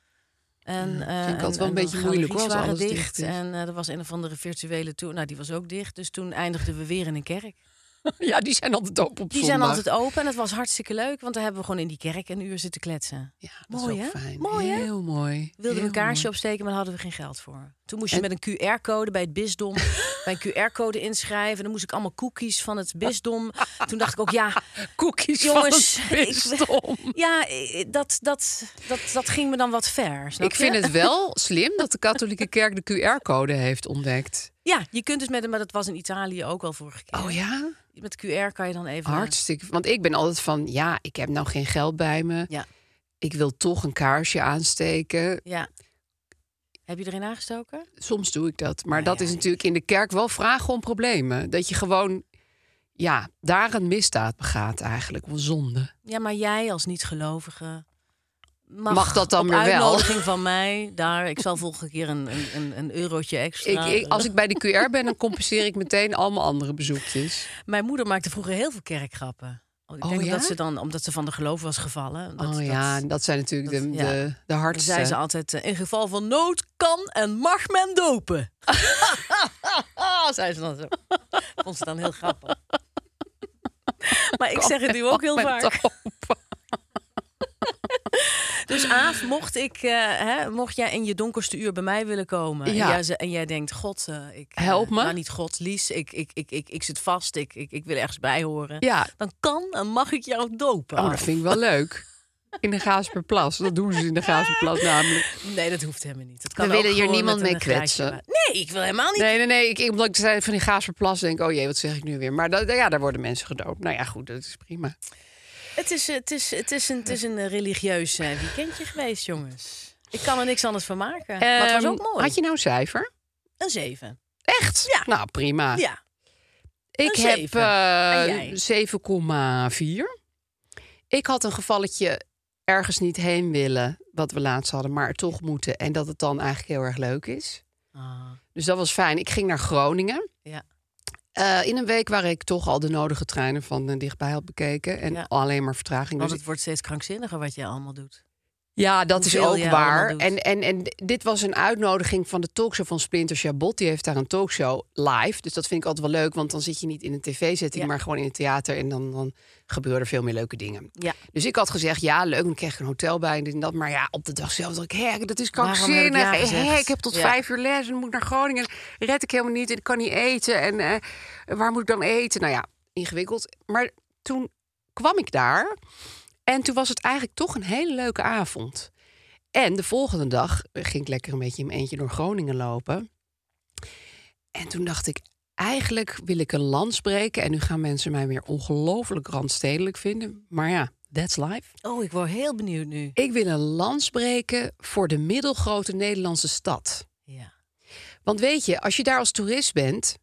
B: En, eh,
C: vind ik
B: en-
C: altijd wel
B: en
C: een beetje
B: de
C: moeilijk,
B: galerijes
C: hoor, als
B: waren
C: alles
B: dicht.
C: dicht is.
B: En eh, er was een of andere virtuele tour. Nou, die was ook dicht. Dus toen eindigden we weer in een kerk.
C: (laughs) ja, die zijn altijd open op
B: Die zijn
C: zondag.
B: altijd open en het was hartstikke leuk, want daar hebben we gewoon in die kerk een uur zitten kletsen.
C: Ja, dat
B: Mooi,
C: is ook
B: hè?
C: fijn.
B: Mooi, hè?
C: Heel mooi.
B: We wilden
C: Heel
B: een kaarsje
C: mooi.
B: opsteken, maar daar hadden we geen geld voor. Toen moest je
C: En-
B: met een QR-code bij het
C: (laughs)
B: bisdom bij een QR-code inschrijven. Dan moest ik allemaal cookies van
C: (laughs)
B: het bisdom. Toen dacht ik ook, ja,
C: Cookies
B: jongens,
C: van (laughs) het
B: ik-
C: bisdom. (laughs)
B: ja eh, dat, dat, dat, dat ging me dan wat ver. snap
C: Ik vind (laughs)
B: je?
C: het wel slim dat de katholieke kerk de QR-code heeft ontdekt.
B: Ja, je kunt dus met hem, maar dat was in Italië ook al vorige keer.
C: Oh ja?
B: Met QR kan je dan even.
C: Hartstikke. Want ik ben altijd van, ja, ik heb nou geen geld bij me.
B: Ja.
C: Ik wil toch een kaarsje aansteken.
B: Ja. Heb je erin aangestoken?
C: Soms doe ik dat. Maar
B: Nou
C: dat
B: ja,
C: is natuurlijk in de kerk wel vragen om problemen. Dat je gewoon, ja, daar een misdaad begaat eigenlijk. Een zonde.
B: Ja, maar jij als niet-gelovige. Mag,
C: Mag dat dan
B: op
C: weer wel?
B: uitnodiging van mij, daar. Ik zal volgende keer een, een, een, een eurotje
C: Ik,
B: extra.
C: ik, als ik bij de QR ben, dan compenseer ik meteen al mijn andere bezoekjes.
B: Mijn moeder maakte vroeger heel veel kerkgrappen. Ik
C: Oh,
B: denk
C: ja?
B: dat ze dan, omdat ze van de geloof was gevallen. Dat,
C: oh ja, en dat, zijn natuurlijk
B: dat-
C: de,
B: ja.
C: de, de
B: dat
C: hardste.
B: zei ze altijd, eh, in geval van nood kan en mag
C: (laughs)
B: men dopen. zei ze dan zo. Vond ze dan heel grappig. (laughs) Maar ik zeg het nu ook heel
C: Met
B: vaak.
C: doop.
B: Dus Aaf, mocht, ik, eh, hè, mocht jij in je donkerste uur bij mij willen komen...
C: Ja.
B: En, jij, ze- en jij denkt, god, eh, ik... eh,
C: Help me.
B: Nou, niet god, Lies, ik, ik, ik, ik, ik zit vast, ik, ik, ik wil ergens bij horen.
C: Ja,
B: Dan kan en mag ik jou dopen.
C: oh,
B: Aaf.
C: dat vind ik wel leuk. In de Gaasperplas. Dat doen ze in de Gaasperplas
B: (laughs)
C: namelijk.
B: Nee, dat hoeft helemaal niet. Dat
C: We
B: kan
C: willen
B: ook
C: hier
B: gewoon
C: niemand
B: met een
C: mee kwetsen.
B: graadje maar- Nee, ik wil helemaal niet.
C: Nee, nee, nee. Ik, omdat ik zei van die Gaasperplas, denk ik, oh jee, wat zeg ik nu weer? Maar dat, ja, daar worden mensen gedoopt. Nou ja, goed, dat is prima.
B: Het, is, het, is, het, is een, het is een eh, religieus eh, weekendje geweest, jongens. Ik kan er niks anders van maken. maar het was
C: Ehm,
B: ook mooi.
C: Had je nou een cijfer?
B: Een zeven.
C: Echt?
B: Ja.
C: Nou, prima.
B: Ja.
C: Ik
B: Een
C: heb
B: zeven. Ah,
C: eh,
B: En
C: 7,4. Ik had een gevalletje ergens niet heen willen, wat we laatst hadden, maar toch moeten. En dat het dan eigenlijk heel erg leuk is.
B: Ah,
C: Dus dat was fijn. Ik ging naar Groningen.
B: Ja.
C: Eh, in een week waar ik toch al de nodige treinen van eh, dichtbij had bekeken. En
B: Ja.
C: alleen maar vertraging.
B: want
C: Dus
B: het wordt steeds krankzinniger wat jij allemaal doet.
C: ja, dat is
B: hoeveel
C: ook
B: jij
C: waar.
B: allemaal
C: En,
B: doet.
C: en, en dit was een uitnodiging van de talkshow van Splinter Chabot. Die heeft daar een talkshow live. Dus dat vind ik altijd wel leuk. Want dan zit je niet in een tv-setting,
B: Ja.
C: maar gewoon in het theater. En dan, dan gebeuren er veel meer leuke dingen.
B: Ja.
C: Dus ik had gezegd, ja, leuk. Dan kreeg ik een hotel bij en dit en dat. Maar ja, op de dag zelf dacht ik, hè, dat is
B: Waarom heb ik
C: krankzinnig.
B: ja
C: Hè,
B: gezegd?
C: ik heb tot
B: Ja.
C: vijf uur les en moet naar Groningen. Red ik helemaal niet en ik kan niet eten. En eh, waar moet ik dan eten? Nou ja, ingewikkeld. Maar toen kwam ik daar en toen was het eigenlijk toch een hele leuke avond. En de volgende dag ging ik lekker een beetje in mijn eentje door Groningen lopen. En toen dacht ik, eigenlijk wil ik een lans breken. En nu gaan mensen mij weer ongelooflijk randstedelijk vinden. Maar ja, that's life.
B: Oh, ik word heel benieuwd nu.
C: Ik wil een lans breken voor de middelgrote Nederlandse stad.
B: Ja.
C: Want weet je, als je daar als toerist bent,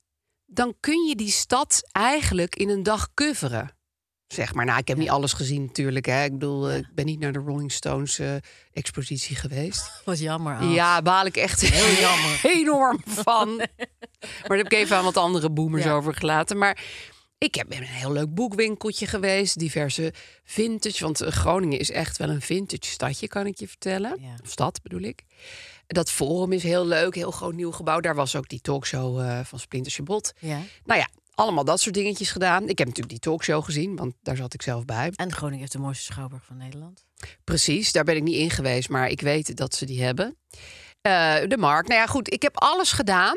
C: dan kun je die stad eigenlijk in een dag coveren. Zeg maar, nou, ik heb niet alles gezien natuurlijk. Hè. Ik bedoel, eh, ik ben niet naar de Rolling Stones eh, expositie geweest.
B: Wat jammer, Aaf.
C: Ja, baal ik echt (laughs)
B: Heel jammer.
C: enorm
B: (laughs)
C: van. Maar daar heb ik even aan wat andere boomers
B: Ja.
C: over gelaten. Maar ik heb in een heel leuk boekwinkeltje geweest. Diverse vintage. Want eh, Groningen is echt wel een vintage stadje, kan ik je vertellen.
B: Ja.
C: Of stad bedoel ik. Dat forum is heel leuk. Heel groot nieuw gebouw. Daar was ook die talkshow eh, van Splinter Chabot.
B: Ja.
C: Nou ja, allemaal dat soort dingetjes gedaan. Ik heb natuurlijk die talkshow gezien, want daar zat ik zelf bij.
B: En Groningen heeft de mooiste schouwburg van Nederland.
C: Precies, daar ben ik niet in geweest, maar ik weet dat ze die hebben. Eh, de markt. Nou ja, goed, ik heb alles gedaan.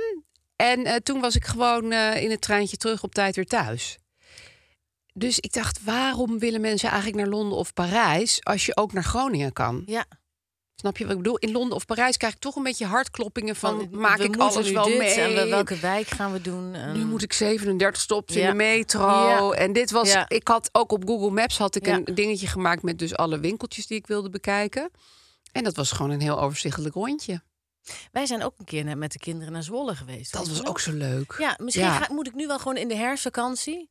C: En eh, toen was ik gewoon eh, in het treintje terug op tijd weer thuis. Dus ik dacht, waarom willen mensen eigenlijk naar Londen of Parijs als je ook naar Groningen kan?
B: Ja.
C: Snap je wat ik bedoel? In Londen of Parijs krijg ik toch een beetje hartkloppingen van,
B: Want
C: maak
B: Oh, we
C: ik
B: moeten
C: alles
B: nu
C: wel
B: dit
C: mee?
B: En we- welke wijk gaan we doen? Ehm, En...
C: Nu moet ik 37 stops in
B: Ja.
C: de metro.
B: Ja.
C: En dit was.
B: Ja.
C: Ik had ook op Google Maps had ik
B: Ja.
C: een dingetje gemaakt met dus alle winkeltjes die ik wilde bekijken. En dat was gewoon een heel overzichtelijk rondje.
B: Wij zijn ook een keer net met de kinderen naar Zwolle geweest.
C: Dat
B: weet je
C: was
B: nog?
C: ook zo leuk.
B: Ja, misschien
C: Ja.
B: ga- moet ik nu wel gewoon in de herfstvakantie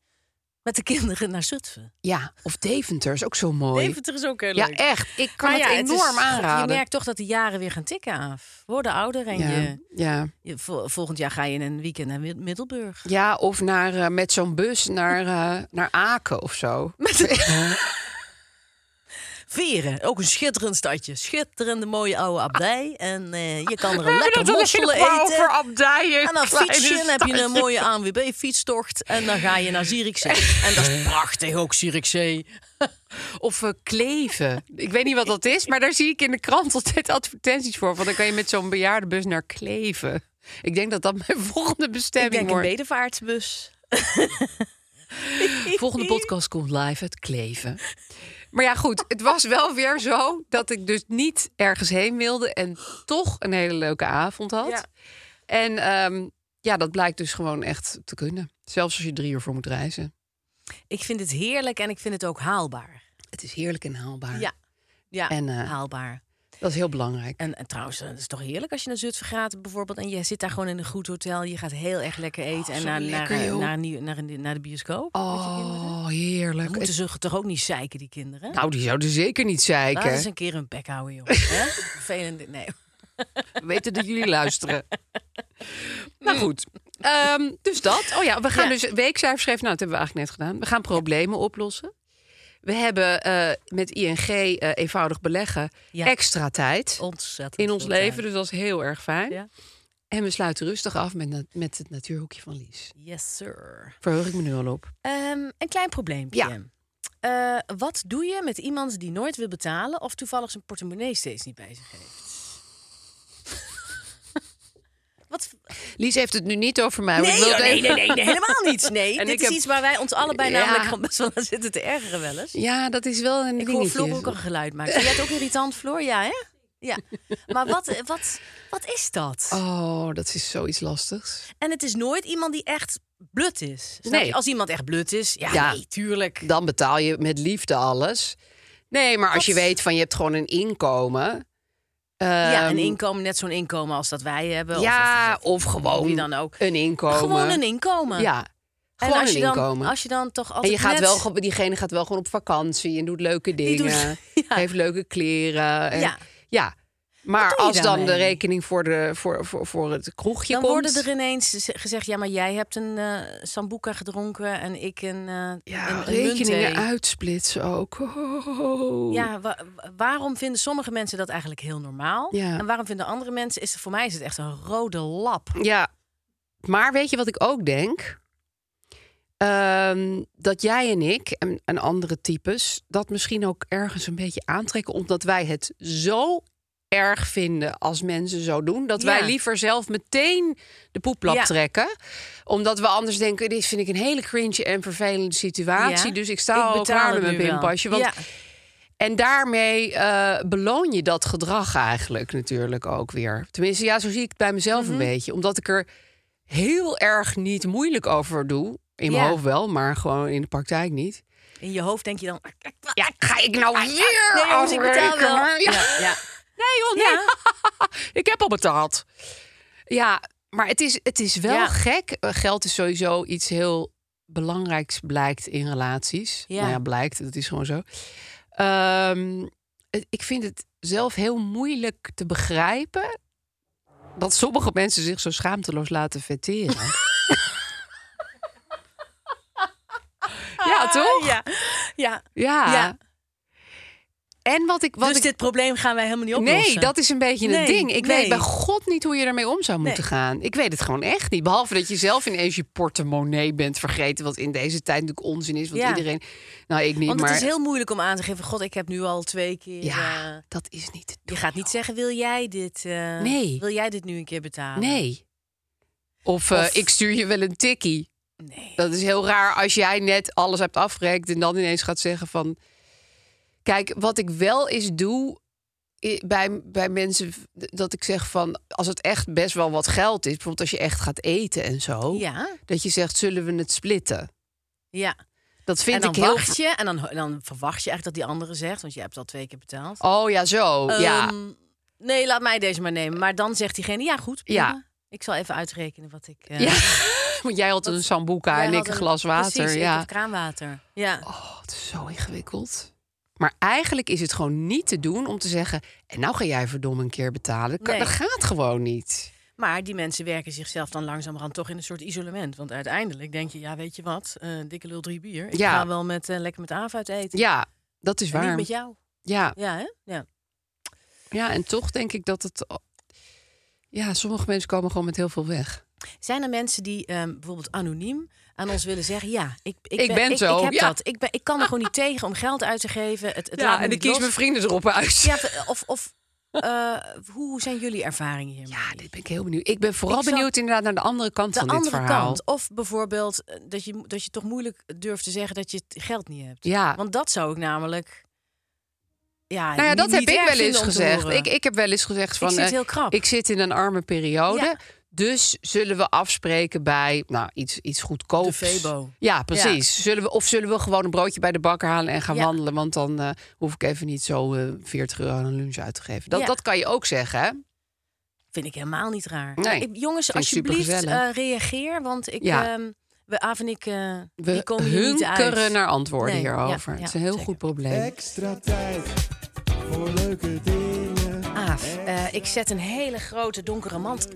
B: met de kinderen naar Zutphen.
C: Ja, of Deventer is ook zo mooi.
B: Deventer is ook heel
C: ja,
B: leuk.
C: echt. Ik kan
B: Maar ja,
C: het
B: is-
C: enorm
B: Je
C: aanraden.
B: merkt toch dat de jaren weer gaan tikken af. Worden ouder en
C: ja,
B: je,
C: ja.
B: je- vol- volgend jaar ga je in een weekend naar Mid- Middelburg.
C: ja, of naar, eh, met
B: (laughs)
C: zo'n bus naar, eh, naar Aken of zo.
B: Met-
D: Veren, ook een schitterend stadje. Schitterende mooie oude abdij. En eh, je kan er een
C: We hebben
D: lekker
C: het alleen
D: mosselen eten.
C: maar over abdijen.
D: En dan
C: kleine
D: fiets je en heb je een
C: stadjes.
D: mooie ANWB-fietstocht. En dan ga je naar Zierikzee. En dat is prachtig ook, Zierikzee.
C: Of eh, kleven. Ik weet niet wat dat is, maar daar zie ik in de krant altijd advertenties voor. Want dan kan je met zo'n bejaardenbus naar kleven. Ik denk dat dat mijn (laughs) volgende
B: Ik
C: bestemming
B: denk een
C: wordt.
B: bedevaartsbus.
C: Volgende podcast komt live uit Kleven. Maar ja, goed. Het was wel weer zo dat ik dus niet ergens heen wilde. En toch een hele leuke avond had.
B: Ja.
C: En ehm, ja, dat blijkt dus gewoon echt te kunnen. Zelfs als je drie uur voor moet reizen.
B: Ik vind het heerlijk en ik vind het ook haalbaar.
C: Het is heerlijk en haalbaar.
B: Ja. Ja,
C: En, eh,
B: haalbaar.
C: Dat is heel belangrijk.
B: En, en trouwens, eh, het is toch heerlijk als je naar Zutphen gaat bijvoorbeeld... en je zit daar gewoon in een goed hotel, je gaat heel erg lekker eten... en
C: Oh, zo
B: naar,
C: lekker,
B: naar, eh,
C: joh.
B: naar, een nieuw- naar, een- naar de bioscoop.
C: Oh,
B: Dan
C: heerlijk.
B: moeten ze toch ook niet zeiken, die kinderen?
C: Nou, die zouden zeker niet zeiken.
B: Laat eens een keer een bek
C: (laughs)
B: houden, joh. Hè? Vervelend. Nee.
C: We weten dat (laughs) jullie luisteren.
B: Mm.
C: Nou goed, Ehm, dus dat. Oh ja, we gaan dus weekcijfers geven. Nou, dat hebben we eigenlijk net gedaan. We gaan problemen oplossen. We hebben eh, met ING eh, eenvoudig beleggen
B: Ja. Oh,
C: extra tijd
B: Ontzettend.
C: in ons
B: veel tijd.
C: leven. Dus dat is heel erg fijn.
B: Ja.
C: En we sluiten rustig af met, na- met het natuurhoekje van Lies.
B: Yes, sir.
C: Verheug ik me nu al op.
B: Ehm, een klein probleempje.
C: Ja.
B: Eh, wat doe je met iemand die nooit wil betalen of toevallig zijn portemonnee steeds niet bij
C: (laughs)
B: zich heeft? wat?
C: Lies heeft het nu niet over mij. want
B: Nee,
C: ik wil
B: joh,
C: het
B: nee,
C: even- (laughs)
B: nee, nee, nee, helemaal niet. Nee,
C: En
B: dit
C: ik
B: is
C: heb-
B: iets waar wij ons allebei
C: Ja.
B: namelijk gewoon best wel aan zitten te ergeren wel eens.
C: Ja, dat is dus- wel een
B: Ik hoor
C: dingetje.
B: Floor ook een geluid maken. Vind jij het ook irritant, Floor? Ja, hè? Ja. Maar wat, wat, wat is dat?
C: Oh, dat is zoiets lastigs.
B: En het is nooit iemand die echt blut is. Snap
C: Nee.
B: je? Als iemand echt blut is, ja,
C: Ja.
B: nee, tuurlijk.
C: dan betaal je met liefde alles. Nee, maar als je weet van je hebt gewoon een inkomen.
B: ja,
C: ehm,
B: een inkomen, net zo'n inkomen als dat wij hebben. Of-
C: Ja,
B: of,
C: of gewoon
B: wie dan ook.
C: een inkomen.
B: Gewoon een inkomen.
C: Ja,
B: En
C: gewoon
B: als
C: een
B: je dan,
C: inkomen.
B: Als je dan toch altijd
C: en je gaat
B: net-
C: wel, ge- diegene gaat wel gewoon op vakantie en doet leuke
B: Die doet-
C: dingen.
B: (laughs) ja.
C: Heeft leuke kleren. En,
B: Ja.
C: ja. Maar
B: doe je
C: als dan de
B: daarmee?
C: rekening voor, de, voor, voor, voor het kroegje
B: Dan
C: komt...
B: worden er ineens z- gezegd... ja, maar jij hebt een eh Sambuca gedronken en ik een, eh
C: ja,
B: een, een
C: rekeningen
B: muntthee.
C: uitsplitsen ook. Oh.
B: Ja, wa- wa- waarom vinden sommige mensen dat eigenlijk heel normaal?
C: Ja.
B: En waarom vinden andere mensen... Is, voor mij is het echt een rode lap.
C: Ja, maar weet je wat ik ook denk? Ehm, dat jij en ik en, en andere types dat misschien ook ergens een beetje aantrekken, omdat wij het zo erg vinden als mensen zo doen, dat
B: Ja.
C: wij liever zelf meteen de poeplap
B: Ja.
C: trekken, omdat we anders denken: dit vind ik een hele cringe en vervelende situatie,
B: Ja.
C: dus ik sta al
B: betaal
C: klaar met
B: het
C: mijn
B: nu wel.
C: pinpasje. Want
B: Ja.
C: en daarmee eh, beloon je dat gedrag eigenlijk natuurlijk ook weer. Tenminste, ja, zo zie ik het bij mezelf een beetje. Omdat ik er heel erg niet moeilijk over doe. In mijn
B: Ja.
C: hoofd wel, maar gewoon in de praktijk niet.
B: In je hoofd denk je dan...
C: Ja, ga ik nou weer
B: Nee, jongens, ik betaal wel.
C: afrekenen? Ja.
B: Ja, ja.
C: Nee, joh, nee.
B: Ja.
C: ik heb al betaald. Ja, maar het is, het is wel
B: Ja.
C: gek. Eh, Geld is sowieso iets heel belangrijks blijkt in relaties.
B: Ja.
C: Nou ja, blijkt, dat is gewoon zo. Ehm, het- ik vind het zelf heel moeilijk te begrijpen... dat sommige mensen zich zo schaamteloos laten vetteren. (laughs)
B: (laughs)
C: ja, toch?
B: Ja, ja.
C: Ja.
B: Ja.
C: En wat ik... Wat
B: dus
C: ik...
B: dit probleem gaan wij helemaal niet oplossen.
C: Nee, dat is een beetje
B: Nee,
C: het ding. Ik weet
B: nee.
C: bij god niet hoe je ermee om zou moeten
B: Nee.
C: gaan. Ik weet het gewoon echt niet. Behalve dat je zelf ineens je portemonnee bent vergeten. Wat in deze tijd natuurlijk onzin is. Want
B: Ja.
C: iedereen... Nou, ik niet,
B: Want
C: maar...
B: het is heel moeilijk om aan te geven... God, ik heb nu al twee keer...
C: Ja,
B: eh,
C: dat is niet te
B: je
C: doen,
B: gaat niet
C: joh.
B: zeggen, wil jij dit... eh,
C: Nee.
B: Wil jij dit nu een keer betalen?
C: Nee. Of, eh,
B: Of-
C: ik stuur je wel een tikkie.
B: Nee.
C: Dat is heel raar als jij net alles hebt afgerekt... en dan ineens gaat zeggen van... Kijk, wat ik wel eens doe i- bij, bij mensen... dat ik zeg van... als het echt best wel wat geld is... bijvoorbeeld als je echt gaat eten en zo...
B: Ja,
C: dat je zegt, zullen we het splitten?
B: ja.
C: Dat
B: en
C: vind
B: dan
C: ik heel...
B: wacht je en dan, dan verwacht je echt dat die andere zegt... want je hebt al twee keer betaald.
C: Oh ja, zo. ja.
B: Ehm, nee, laat mij deze maar nemen. Maar dan zegt diegene, ja goed, prima.
C: Ja.
B: Ik zal even uitrekenen wat ik... eh,
C: ja. (laughs) Want jij had een sambuca
B: jij
C: en ik
B: had
C: een glas water.
B: Precies, ik
C: ja.
B: heb kraanwater. Ja.
C: Oh, het is zo ingewikkeld. Maar eigenlijk is het gewoon niet te doen om te zeggen... en nou ga jij verdomme een keer betalen. Dat, kan-
B: Nee.
C: dat gaat gewoon niet.
B: Maar die mensen werken zichzelf dan langzamerhand toch in een soort isolement. Want uiteindelijk denk je, ja weet je wat, eh, dikke lul drie bier. Ik
C: Ja.
B: ga wel met, eh, lekker met Aaf uit eten.
C: Ja, dat is
B: En
C: waar.
B: niet met jou.
C: Ja,
D: Ja, hè? Ja.
C: ja, en toch denk ik dat het... Ja, sommige mensen komen gewoon met heel veel weg.
B: Zijn er mensen die ehm, bijvoorbeeld anoniem aan ons willen zeggen: Ja, ik, ik,
C: Ik ben zo,
B: Ik, heb
C: ja.
B: dat. Ik, ben, ik kan
C: (laughs)
B: er gewoon niet tegen om geld uit te geven. Het, het laat
C: Ja,
B: me
C: en ik
B: niet
C: kies
B: los.
C: mijn vrienden erop uit.
B: Ja, of, of eh, hoe zijn jullie ervaringen hiermee?
C: Ja, dit ben ik heel benieuwd. Ik ben vooral
B: Ik zat-
C: benieuwd inderdaad naar de andere kant
B: de
C: van dit
B: andere
C: verhaal.
B: kant. Of bijvoorbeeld eh, dat je, dat je toch moeilijk durft te zeggen dat je het geld niet hebt.
C: Ja.
B: Want dat zou ik namelijk. Ja,
C: Nou ja,
B: Ah, niet-
C: dat heb
B: niet
C: ik
B: erg
C: wel
B: vinden
C: eens
B: om te
C: gezegd.
B: horen.
C: Ik, ik heb wel eens gezegd van...
B: zit
C: eh,
B: heel krap.
C: Ik zit in een arme periode.
B: Ja.
C: Dus zullen we afspreken bij nou, iets, iets goedkoops.
B: De Febo.
C: Ja, precies. Zullen we, of zullen we gewoon een broodje bij de bakker halen en gaan
B: Ja.
C: wandelen? Want dan eh, hoef ik even niet zo eh 40 euro aan een lunch uit te geven. Dat,
B: Ja.
C: dat kan je ook zeggen, hè?
B: Vind ik helemaal niet raar.
C: Nee,
B: Ik- jongens,
C: vind ik
B: alsjeblieft
C: supergezellig.
B: eh, reageer. Want ik,
C: Ja.
B: ehm, we, Aaf en ik, eh, die
C: We
B: komen hier niet
C: hunkeren
B: uit.
C: naar antwoorden
B: Nee, ja,
C: hierover.
B: ja,
C: het is een heel
B: zeker.
C: goed probleem.
E: Extra tijd voor leuke dingen.
B: Aaf, eh, ik zet een hele grote donkere mand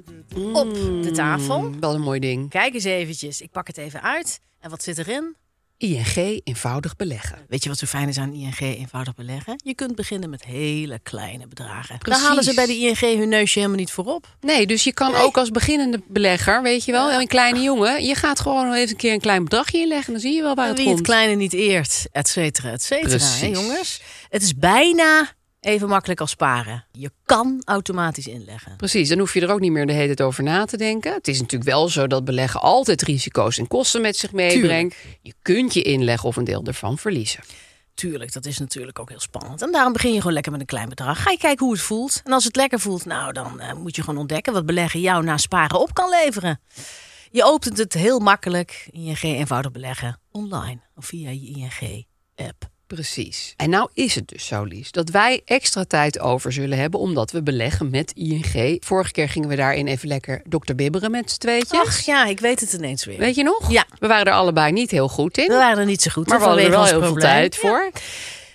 B: op de tafel.
C: Mm, wel een mooi ding.
B: Kijk eens eventjes. Ik pak het even uit. En wat zit erin?
C: ING eenvoudig beleggen.
B: Weet je wat zo fijn is aan ING eenvoudig beleggen? Je kunt beginnen met hele kleine bedragen.
C: Precies.
B: Dan halen ze bij de ING hun neusje helemaal niet voorop.
C: Nee, dus je kan ook als beginnende belegger, weet je wel, een kleine jongen, je gaat gewoon even een keer een klein bedragje inleggen, dan zie je wel waar
B: En
C: het
B: wie het
C: komt.
B: kleine niet eert, et cetera, et cetera. Hè,
C: Precies.
B: jongens? Het is bijna even makkelijk als sparen. Je kan automatisch inleggen.
C: Precies, dan hoef je er ook niet meer de hele tijd over na te denken. Het is natuurlijk wel zo dat beleggen altijd risico's en kosten met zich meebrengt. Je kunt je inleg of een deel ervan verliezen.
B: Tuurlijk, dat is natuurlijk ook heel spannend. En daarom begin je gewoon lekker met een klein bedrag. Ga je kijken hoe het voelt. En als het lekker voelt, nou, dan eh, moet je gewoon ontdekken wat beleggen jou na sparen op kan leveren. Je opent het heel makkelijk, ING eenvoudig beleggen, online of via je ING-app.
C: Precies. En nou is het dus zo, Lies, dat wij extra tijd over zullen hebben omdat we beleggen met ING. Vorige keer gingen we daarin even lekker dokter bibberen met z'n tweetjes.
B: Ach ja, ik weet het ineens weer.
C: Weet je nog?
B: Ja.
C: We waren er allebei niet heel goed in.
B: We waren er niet zo goed,
C: Maar
B: hè,
C: we hadden er wel
B: vanwege
C: heel
B: ons
C: veel
B: probleem.
C: tijd
B: Ja.
C: voor.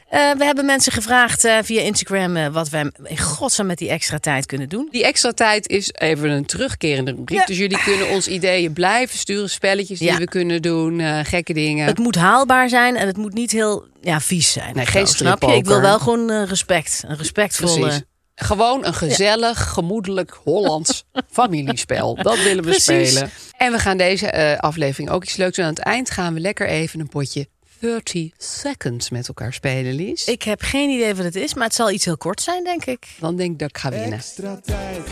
B: Eh, we hebben mensen gevraagd eh, via Instagram eh, wat wij in godsnaam met die extra tijd kunnen doen.
C: Die extra tijd is even een terugkerende rubriek.
B: Ja.
C: Dus jullie kunnen ons ideeën blijven sturen. Spelletjes die
B: Ja.
C: we kunnen doen. eh, gekke dingen.
B: Het moet haalbaar zijn en het moet niet heel ja, vies zijn.
C: Nee,
B: of
C: geen
B: zo, snap je? Ik wil
C: strippoker.
B: wel gewoon eh, respect. Een respectvolle...
C: Precies. Gewoon een gezellig, gemoedelijk
B: (laughs)
C: Hollands familiespel. Dat willen we
B: Precies.
C: spelen. En we gaan deze eh, aflevering ook iets leuks doen. Aan het eind gaan we lekker even een potje 30 seconds met elkaar spelen, Lies.
B: Ik heb geen idee wat het is, maar het zal iets heel kort zijn, denk ik.
C: Dan denk ik dat ik ga winnen.
E: Extra tijd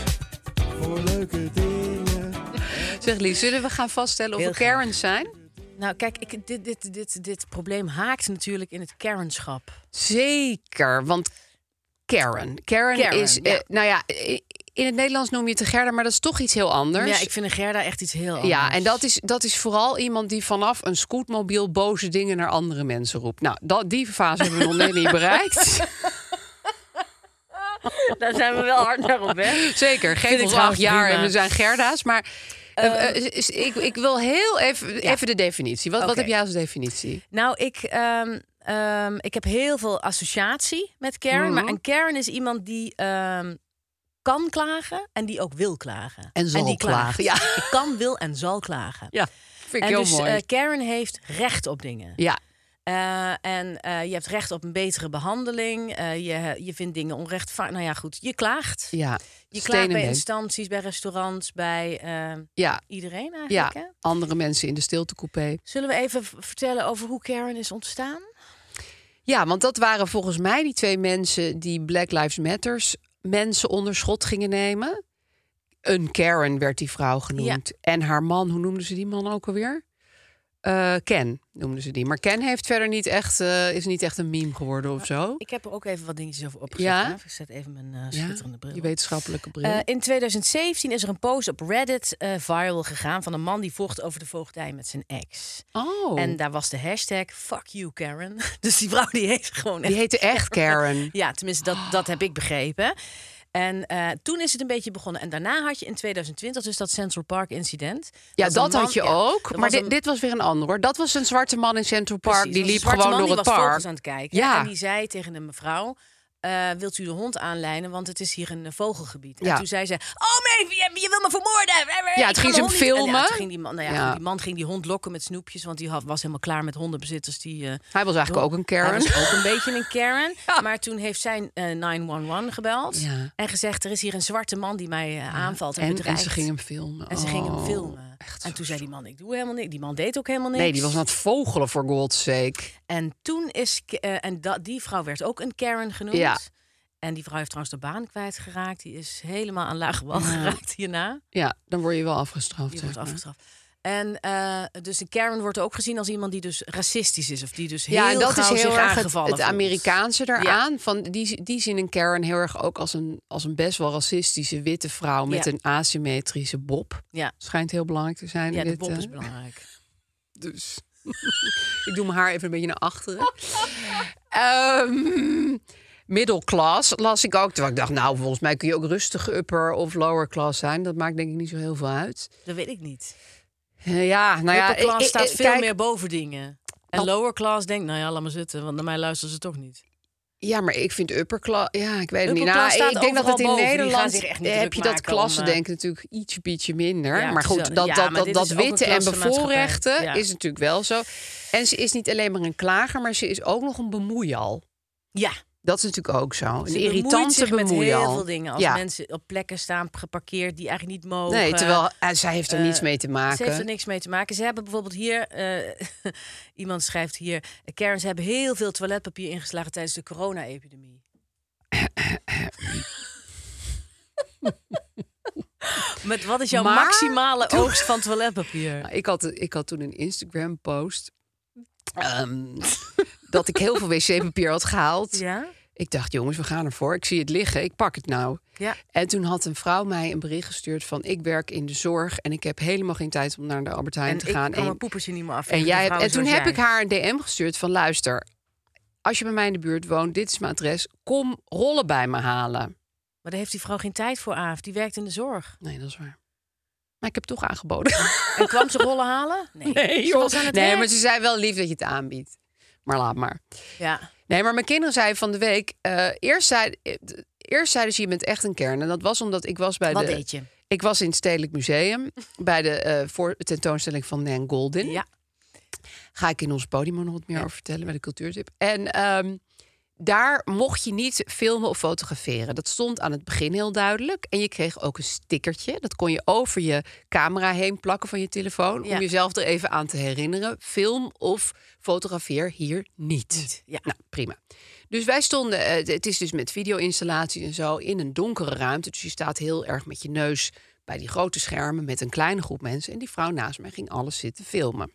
E: voor leuke dingen.
C: Zeg Lies, zullen we gaan vaststellen of
B: Heel
C: we Karens zijn?
B: Nou, kijk, ik, dit, dit, dit, dit probleem haakt natuurlijk in het Karenschap.
C: Zeker, want Karen. Karen,
B: Karen,
C: is, eh,
B: ja.
C: nou ja, eh, in het Nederlands noem je het een Gerda, maar dat is toch iets heel anders.
B: Ja, ik vind een Gerda echt iets heel anders.
C: Ja, en dat is, dat is vooral iemand die vanaf een scootmobiel boze dingen naar andere mensen roept. Nou, dat, die fase hebben we nog net niet
B: (laughs)
C: bereikt.
B: Daar zijn we wel hard naar op weg.
C: Zeker,
B: Vind
C: geef
B: ik
C: ons
B: trouwens
C: acht jaar
B: prima. Ehm,
C: en we zijn Gerda's. Maar eh, eh, is- ik, ik wil heel even, even de definitie. Wat, wat
B: Oké.
C: heb jij als definitie?
B: (laughs) Nou, ik, ehm, ehm, ik heb heel veel associatie met Karen. Maar een Karen is iemand die ehm, kan klagen en die ook wil klagen.
C: En zal
B: die klaagt.
C: klagen, ja.
B: Ik kan, wil en zal klagen.
C: Ja, vind ik
B: En
C: heel
B: dus
C: mooi.
B: eh, Karen heeft recht op dingen.
C: ja,
B: Eh, en eh, je hebt recht op een betere behandeling. Eh, je, je vindt dingen onrechtvaardig. Nou ja, goed, je klaagt.
C: ja.
B: je klaagt
C: Stenen
B: bij
C: mens.
B: instanties, bij restaurants, bij eh,
C: Ja,
B: iedereen
C: ja.
B: eigenlijk. Hè?
C: andere mensen in de stiltecoupé.
B: Zullen we even v- vertellen over hoe Karen is ontstaan?
C: Ja, want dat waren volgens mij die twee mensen die Black Lives Matters mensen onder schot gingen nemen. Een Karen werd die vrouw genoemd. En haar man, hoe noemden ze die man ook alweer? Eh, Ken noemden ze die. Maar Ken heeft verder niet echt, eh, is niet echt een meme geworden of zo.
B: Ik heb er ook even wat dingetjes over opgezet.
C: Ja?
B: Aaf. Ik zet even mijn eh,
C: Ja,
B: schitterende bril.
C: die
B: op.
C: wetenschappelijke bril.
B: Eh, in 2017 is er een post op Reddit eh, viral gegaan van een man die vocht over de voogdij met zijn ex.
C: oh,
B: En daar was de hashtag fuck you Karen. (laughs) Dus die vrouw die heeft gewoon echt
C: die heette echt Karen.
B: Ja, tenminste, dat, dat heb ik begrepen. En eh, toen is het een beetje begonnen. En daarna had je in 2020 dus dat Central Park incident.
C: Ja,
B: een
C: dat
B: man-
C: had je
B: ja,
C: ook.
B: er
C: Maar
B: was
C: dit,
B: een-
C: dit was weer een ander hoor. Dat was een zwarte man in Central Park.
B: precies, er
C: die
B: was een
C: liep
B: zwarte
C: gewoon
B: man
C: door het
B: die was vogels
C: park.
B: aan het kijken.
C: Ja.
B: En die zei tegen een mevrouw... eh, wilt u de hond aanlijnen, want het is hier een eh, vogelgebied. En
C: Ja.
B: toen zei ze, oh nee, je, je wil me vermoorden.
C: Ja,
B: Ik
C: het
B: kan
C: ging
B: de
C: ze
B: hond
C: hem
B: niet- En Ja,
C: filmen.
B: toen ging die, man, nou ja,
C: Ja.
B: die man ging die hond lokken met snoepjes, want die had, was helemaal klaar met hondenbezitters. Die, eh,
C: Hij was eigenlijk ook een
B: hij
C: Karen.
B: was ook een beetje een
C: (laughs)
B: Karen. Maar toen heeft zij eh 911 gebeld.
C: Ja.
B: En gezegd, er is hier een zwarte man die mij eh, aanvalt en,
C: (laughs) en, en
B: bedreigt.
C: ze ging hem filmen.
B: En ze ging hem
C: Oh,
B: filmen.
C: echt
B: en toen zei die man, ik doe helemaal niks. Die man deed ook helemaal niks.
C: Nee, die was aan het vogelen voor God's sake.
B: En toen is... K- eh, en dat die vrouw werd ook een Karen genoemd.
C: Ja.
B: En die vrouw heeft trouwens de baan kwijtgeraakt. Die is helemaal aan lage wal geraakt hierna.
C: Ja, dan word je wel afgestraft.
B: Die
C: zeg
B: wordt
C: maar.
B: afgestraft. En eh, dus een Karen wordt ook gezien als iemand die dus racistisch is. Of die dus heel
C: Ja, en dat is
B: gauw
C: heel
B: zich
C: erg het,
B: aangevallen
C: het
B: voelt.
C: Amerikaanse eraan. Van die, die zien een Karen heel erg ook als een, als een best wel racistische witte vrouw met
B: Ja.
C: een asymmetrische bob.
B: Ja.
C: Schijnt heel belangrijk te zijn.
B: Ja,
C: in
B: de
C: dit,
B: pop
C: eh,
B: is belangrijk.
C: Dus (laughs) ik doe mijn haar even een beetje naar achteren.
B: (laughs)
C: Ehm Middelklas las ik ook. Terwijl ik dacht, nou, volgens mij kun je ook rustig upper of lower class zijn. Dat maakt denk ik niet zo heel veel uit.
B: Dat weet ik niet.
C: Eh, ja, nou ja,
B: Upper class
C: ik- ik-
B: staat
C: ik-
B: veel
C: kijk,
B: meer boven dingen. En lower class denkt, nou ja, laat maar zitten. Want naar mij luisteren ze toch niet.
C: Ja, maar ik vind upperklas. Ja, ik weet het niet.
B: Upperklas
C: Nou,
B: staat
C: ik denk dat
B: overal
C: het in
B: boven. Die gaan
C: Nederland.
B: zich echt niet
C: eh, heb
B: druk
C: je dat
B: maken om,
C: klassendenken natuurlijk iets beetje minder.
B: Ja,
C: maar
B: precies.
C: goed, dat,
B: Ja,
C: dat,
B: maar
C: dat,
B: dit
C: dat
B: is ook een
C: witte en
B: klassenmaatschappij.
C: bevoorrechten
B: Ja.
C: is natuurlijk wel zo. En ze is niet alleen maar een klager, maar ze is ook nog een bemoeial.
B: Ja,
C: Dat is natuurlijk ook zo. Een
B: ze bemoeit
C: irritante
B: zich met heel
C: bemoeial.
B: veel dingen. Als
C: Ja.
B: mensen op plekken staan geparkeerd die eigenlijk niet mogen.
C: Nee, terwijl eh, zij heeft er
B: eh,
C: niets mee te
B: Ze
C: maken.
B: heeft er niks mee te maken. Ze hebben bijvoorbeeld hier, eh, (laughs) iemand schrijft hier, Karen, ze hebben heel veel toiletpapier ingeslagen tijdens de corona-epidemie.
C: (laughs)
B: Met wat is jouw
C: Maar-
B: maximale oogst van toiletpapier?
C: Nou, ik, had, ik had toen een Instagram-post. ehm, (laughs) dat ik heel veel wc-papier had gehaald.
B: Ja?
C: Ik dacht, jongens, we gaan ervoor. Ik zie het liggen, ik pak het nou.
B: Ja.
C: En toen had een vrouw mij een bericht gestuurd van... ik werk in de zorg en ik heb helemaal geen tijd om naar de Albert Heijn
B: En
C: te
B: ik
C: gaan.
B: kan mijn
C: en,
B: poepers hier niet meer af.
C: en, jij hebt, en toen heb ik haar een DM gestuurd van... luister, als je bij mij in de buurt woont, dit is mijn adres... kom rollen bij me halen.
B: Maar daar heeft die vrouw geen tijd voor, Aaf. Die werkt in de zorg.
C: Nee, dat is waar. Maar ik heb toch aangeboden. (laughs)
B: En kwam ze rollen halen?
C: Nee,
B: Ze
C: joh.
B: was aan het
C: nee
B: werk.
C: maar ze zei wel lief dat je het aanbiedt. Maar laat maar.
B: Ja.
C: Nee, maar mijn kinderen zeiden van de week... eh, eerst, zeiden, eerst zeiden ze, je bent echt een kern. En dat was omdat ik was bij
B: Wat
C: Eh, de...
B: deed je?
C: Ik was in het Stedelijk Museum bij de eh, voor, tentoonstelling van Nan Golden.
B: Ja.
C: Ga ik in ons podium nog wat meer over vertellen bij de cultuurtip. En ehm, daar mocht je niet filmen of fotograferen. Dat stond aan het begin heel duidelijk. En je kreeg ook een stickertje. Dat kon je over je camera heen plakken van je telefoon.
B: Ja.
C: Om jezelf er even aan te herinneren. Film of fotografeer hier niet.
B: ja.
C: Nou, prima. Dus wij stonden, eh, het is dus met video-installaties en zo, in een donkere ruimte. Dus je staat heel erg met je neus bij die grote schermen met een kleine groep mensen. En die vrouw naast mij ging alles zitten filmen.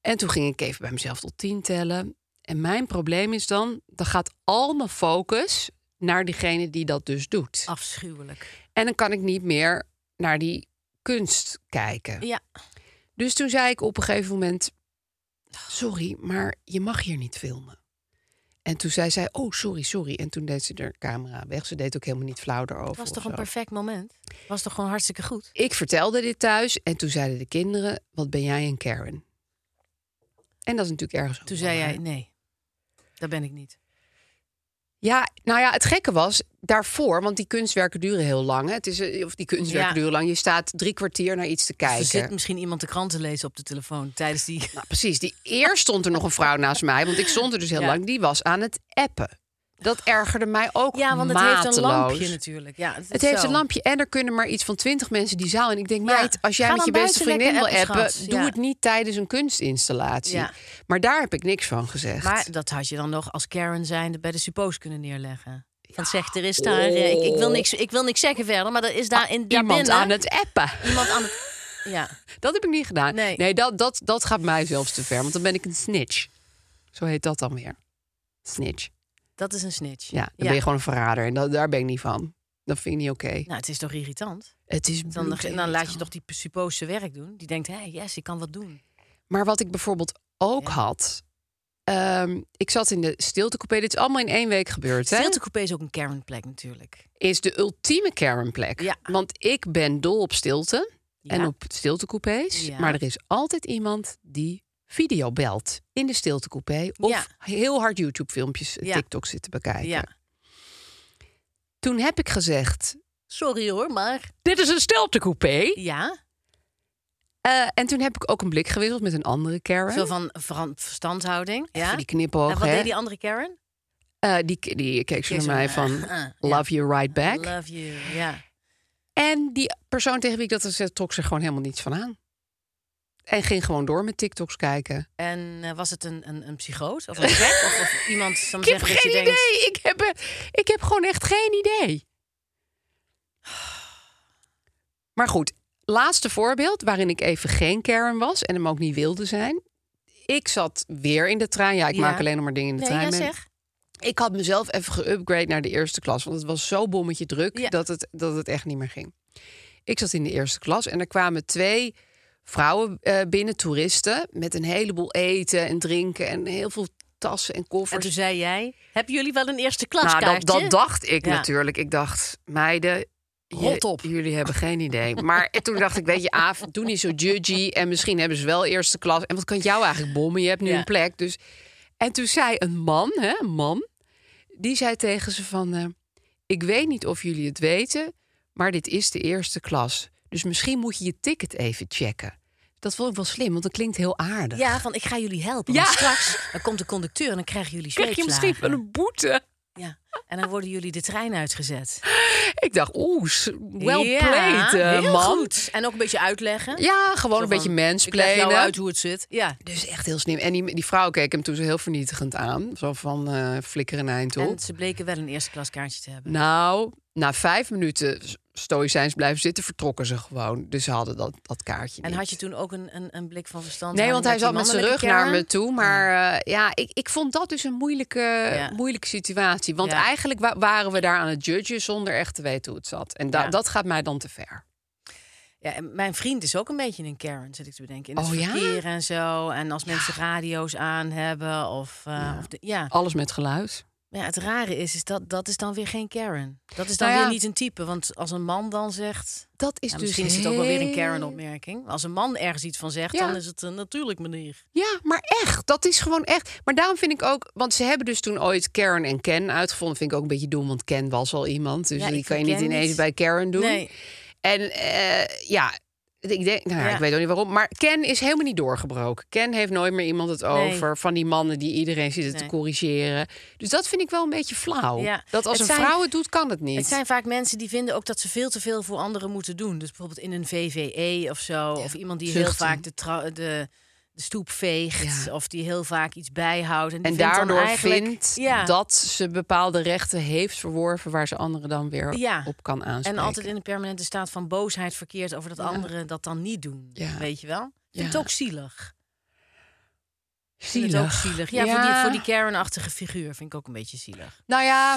C: En toen ging ik even bij mezelf tot tien tellen. En mijn probleem is dan, dan gaat al mijn focus naar diegene die dat dus doet.
B: Ah. Afschuwelijk.
C: En dan kan ik niet meer naar die kunst kijken.
B: Ja.
C: Dus toen zei ik op een gegeven moment: Sorry, maar je mag hier niet filmen. En toen zei zij: Oh, sorry, sorry. En toen deed ze de camera weg. Ze deed ook helemaal niet flauw erover.
B: Het was
C: of
B: toch een
C: zo.
B: perfect moment? Was toch gewoon hartstikke goed?
C: Ik vertelde dit thuis en toen zeiden de kinderen: Wat ben jij een Karen? En dat is natuurlijk ergens. ook
B: Toen
C: wel
B: zei
C: waar.
B: jij, nee, dat ben ik niet. Dus
C: Ja, nou ja, het gekke was daarvoor, want die kunstwerken duren heel lang. hè. Het is, eh, of die kunstwerken
B: Ja.
C: duren lang. Je staat drie kwartier naar iets te kijken.
B: Er zit misschien iemand de krant te lezen op de telefoon tijdens die...
C: Nou, precies. Die eerst stond er nog een vrouw naast mij, want ik stond er dus heel
B: Ja.
C: lang. Die was aan het appen. Dat ergerde mij ook
B: Ja, want het heeft een
C: mateloos.
B: lampje natuurlijk. Ja,
C: Het heeft
B: zo.
C: een lampje en er kunnen maar iets van twintig mensen die zaal. En ik denk,
B: Ja,
C: meid, als jij
B: ga
C: met je
B: dan
C: beste
B: buiten
C: vriendin wil
B: lekker appen,
C: appen,
B: schat.
C: doe
B: Ja.
C: het niet tijdens een kunstinstallatie.
B: Ja.
C: Maar daar heb ik niks van gezegd.
B: Maar dat had je dan nog als Karen zijnde bij de suppo's kunnen neerleggen. Van zegt, er is daar... eh, Ik, ik, wil niks, ik wil niks zeggen verder, maar er is daar in
C: Oh. Ah, Iemand
B: daarbinnen
C: aan het appen.
B: Iemand aan het... Ja,
C: Dat heb ik niet gedaan.
B: Nee.
C: dat, dat, dat gaat mij zelfs te ver, want dan ben ik een snitch. Zo heet dat dan weer. Snitch.
B: dat is een snitch.
C: Ja, dan ben je gewoon een verrader. En dat, daar ben ik niet van. Dat vind ik niet oké.
B: Nou, het is toch irritant?
C: Het is
B: Dan, dan laat je
C: bloedirritant.
B: toch die suppo's zijn werk doen. Die denkt, hé, hey, yes, ik kan wat doen.
C: Maar wat ik bijvoorbeeld ook
B: Ja.
C: had. ehm, ik zat in de stiltecoupé. Dit is allemaal in één week gebeurd. Hè?
B: Filtercoupé is ook een Karen-plek natuurlijk.
C: Is de ultieme Karen-plek.
B: Ja.
C: Want ik ben dol op stilte
B: Ja.
C: en op stiltecoupés.
B: Ja.
C: Maar er is altijd iemand die video belt in de stiltecoupé. Of
B: Ja.
C: heel hard YouTube-filmpjes,
B: Ja.
C: TikTok zitten bekijken.
B: Ja.
C: Toen heb ik gezegd,
D: Sorry hoor, maar...
C: dit is een stiltecoupé.
B: Ja?
C: Eh, en toen heb ik ook een blik gewisseld met een andere Karen.
B: Zo van veran- verstandhouding.
C: Even
B: Ja?
C: die
B: En
C: knipoog,
B: wat
C: hè?
B: deed
C: Die...
B: die andere Karen?
C: die, die keek zo
B: Keek
C: naar
B: zo,
C: mij
B: eh,
C: van,
B: eh, (laughs) ja.
C: love you right back.
B: Love you. Ja.
C: En die persoon tegen wie ik dat had gezegd, trok zich gewoon helemaal niets van aan. En ging gewoon door met TikToks kijken.
B: En eh, was het een, een, een psychoot? Of een
C: (laughs)
B: gek? of, of iemand soms
C: Ik heb
B: zeggen
C: geen
B: dat je
C: idee.
B: denkt...
C: Ik, heb, eh, ik heb gewoon echt geen idee. Maar goed, laatste voorbeeld waarin ik even geen Karen was en hem ook niet wilde zijn. Ik zat weer in de trein. Ja, ik
B: Ja.
C: maak alleen nog maar dingen in de
B: Nee,
C: trein.
B: ja,
C: met-
B: zeg.
C: Ik had mezelf even geüpgrade naar de eerste klas. Want het was zo bommetje druk
B: Ja.
C: dat, het, dat het echt niet meer ging. Ik zat in de eerste klas en er kwamen twee vrouwen eh, binnen, toeristen. Met een heleboel eten en drinken en heel veel tassen en
B: En
C: koffers.
B: toen zei jij... Hebben jullie wel een eerste
C: nou, dat,
B: klaskaartje?
C: dat dacht ik
B: Ja.
C: natuurlijk. Ik dacht, meiden... je-
B: Rot op.
C: Jullie hebben geen idee. Maar toen dacht ik, weet je, Aaf, doe niet zo judgy. En misschien hebben ze wel eerste klas. En wat kan jou eigenlijk bommen? Je hebt nu
B: Ja.
C: een plek. Dus... En toen zei een man, hè, een man, die zei tegen ze van... eh, ik weet niet of jullie het weten, maar dit is de eerste klas. Dus misschien moet je je ticket even checken. Dat vond ik wel slim, want dat klinkt heel aardig.
B: Ja, van ik ga jullie helpen.
C: Ja.
B: Want straks dan komt de conducteur en dan krijgen jullie
C: Krijg je misschien wel
B: zweepslagen.
C: een boete?
B: Ja. En dan worden jullie de trein uitgezet.
C: Ik dacht, oeh, s- well
B: Ja,
C: played, eh,
B: heel
C: man.
B: goed. En ook een beetje uitleggen.
C: Ja, gewoon
B: Zo
C: een
B: van,
C: beetje
B: Ik leg jou
C: mensplenen.
B: uit hoe het zit. Ja.
C: Dus echt heel slim. En die, die vrouw keek hem toen zo heel vernietigend aan. Zo van eh flikker een eind op.
B: En ze bleken wel een eerste klas kaartje te hebben.
C: Nou, na vijf minuten stoïcijns blijven zitten, vertrokken ze gewoon. Dus ze hadden dat, dat kaartje
B: En
C: niet.
B: had je toen ook een, een, een blik van verstand?
C: Nee, want hij
B: die
C: zat met zijn rug
B: mannelijke
C: naar
B: kern?
C: me toe. Maar eh, ja, ik, ik vond dat dus een moeilijke,
B: Ja.
C: moeilijke situatie. Want
B: Ja.
C: eigenlijk wa- waren we daar aan het judgen zonder echt te weten hoe het zat. En da-
B: Ja.
C: dat gaat mij dan te ver.
B: Ja, en mijn vriend is ook een beetje een Karen, zit ik te bedenken. In het
C: Oh, ja?
B: verkeer en zo. En als mensen radio's aan hebben. Of, eh, of de, ja.
C: Alles met geluid.
B: Maar ja, het rare is, is dat dat is dan weer geen Karen. Dat is dan
C: Nou ja.
B: weer niet een type. Want als een man dan zegt...
C: Dat is
B: Ja,
C: dus
B: misschien is het ook wel weer een
C: heel-
B: Karen-opmerking. Als een man ergens iets van zegt,
C: Ja.
B: dan is het een natuurlijk manier.
C: Ja, maar echt. Dat is gewoon echt. Maar daarom vind ik ook... Want ze hebben dus toen ooit Karen en Ken uitgevonden. Vind ik ook een beetje dom, want Ken was al iemand. Dus
B: Ja,
C: die
B: ik
C: kan je niet
B: ken
C: ineens
B: niet.
C: bij Karen doen.
B: Nee.
C: En eh, ja, ik denk... Nou ja,
B: Ja.
C: ik weet ook niet waarom. Maar Ken is helemaal niet doorgebroken. Ken heeft nooit meer iemand het
B: Nee.
C: over. Van die mannen die iedereen zitten te
B: Nee.
C: corrigeren. Dus dat vind ik wel een beetje flauw.
B: Ja.
C: Dat als
B: Het
C: een
B: zijn-
C: vrouw het doet, kan het niet.
B: Het zijn vaak mensen die vinden ook dat ze veel te veel voor anderen moeten doen. Dus bijvoorbeeld in een VVE of zo. of iemand die heel
C: zuchten.
B: vaak de, tra- de, de stoep veegt.
C: Ja.
B: Of die heel vaak iets bijhoudt. En, die
C: en
B: vindt dan
C: daardoor
B: eigenlijk-
C: vindt
B: Ja.
C: dat ze bepaalde rechten heeft verworven... waar ze anderen dan weer
B: Ja.
C: op kan aanspreken.
B: En altijd in een permanente staat van boosheid verkeerd over dat anderen dat dan niet doen.
C: Ja.
B: Weet je wel? Ik
C: Ja.
B: vind het ook zielig. Ik vind
C: zielig.
B: het ook zielig. Ja, Voor, die, voor die Karen-achtige figuur vind ik ook een beetje zielig.
C: Nou ja,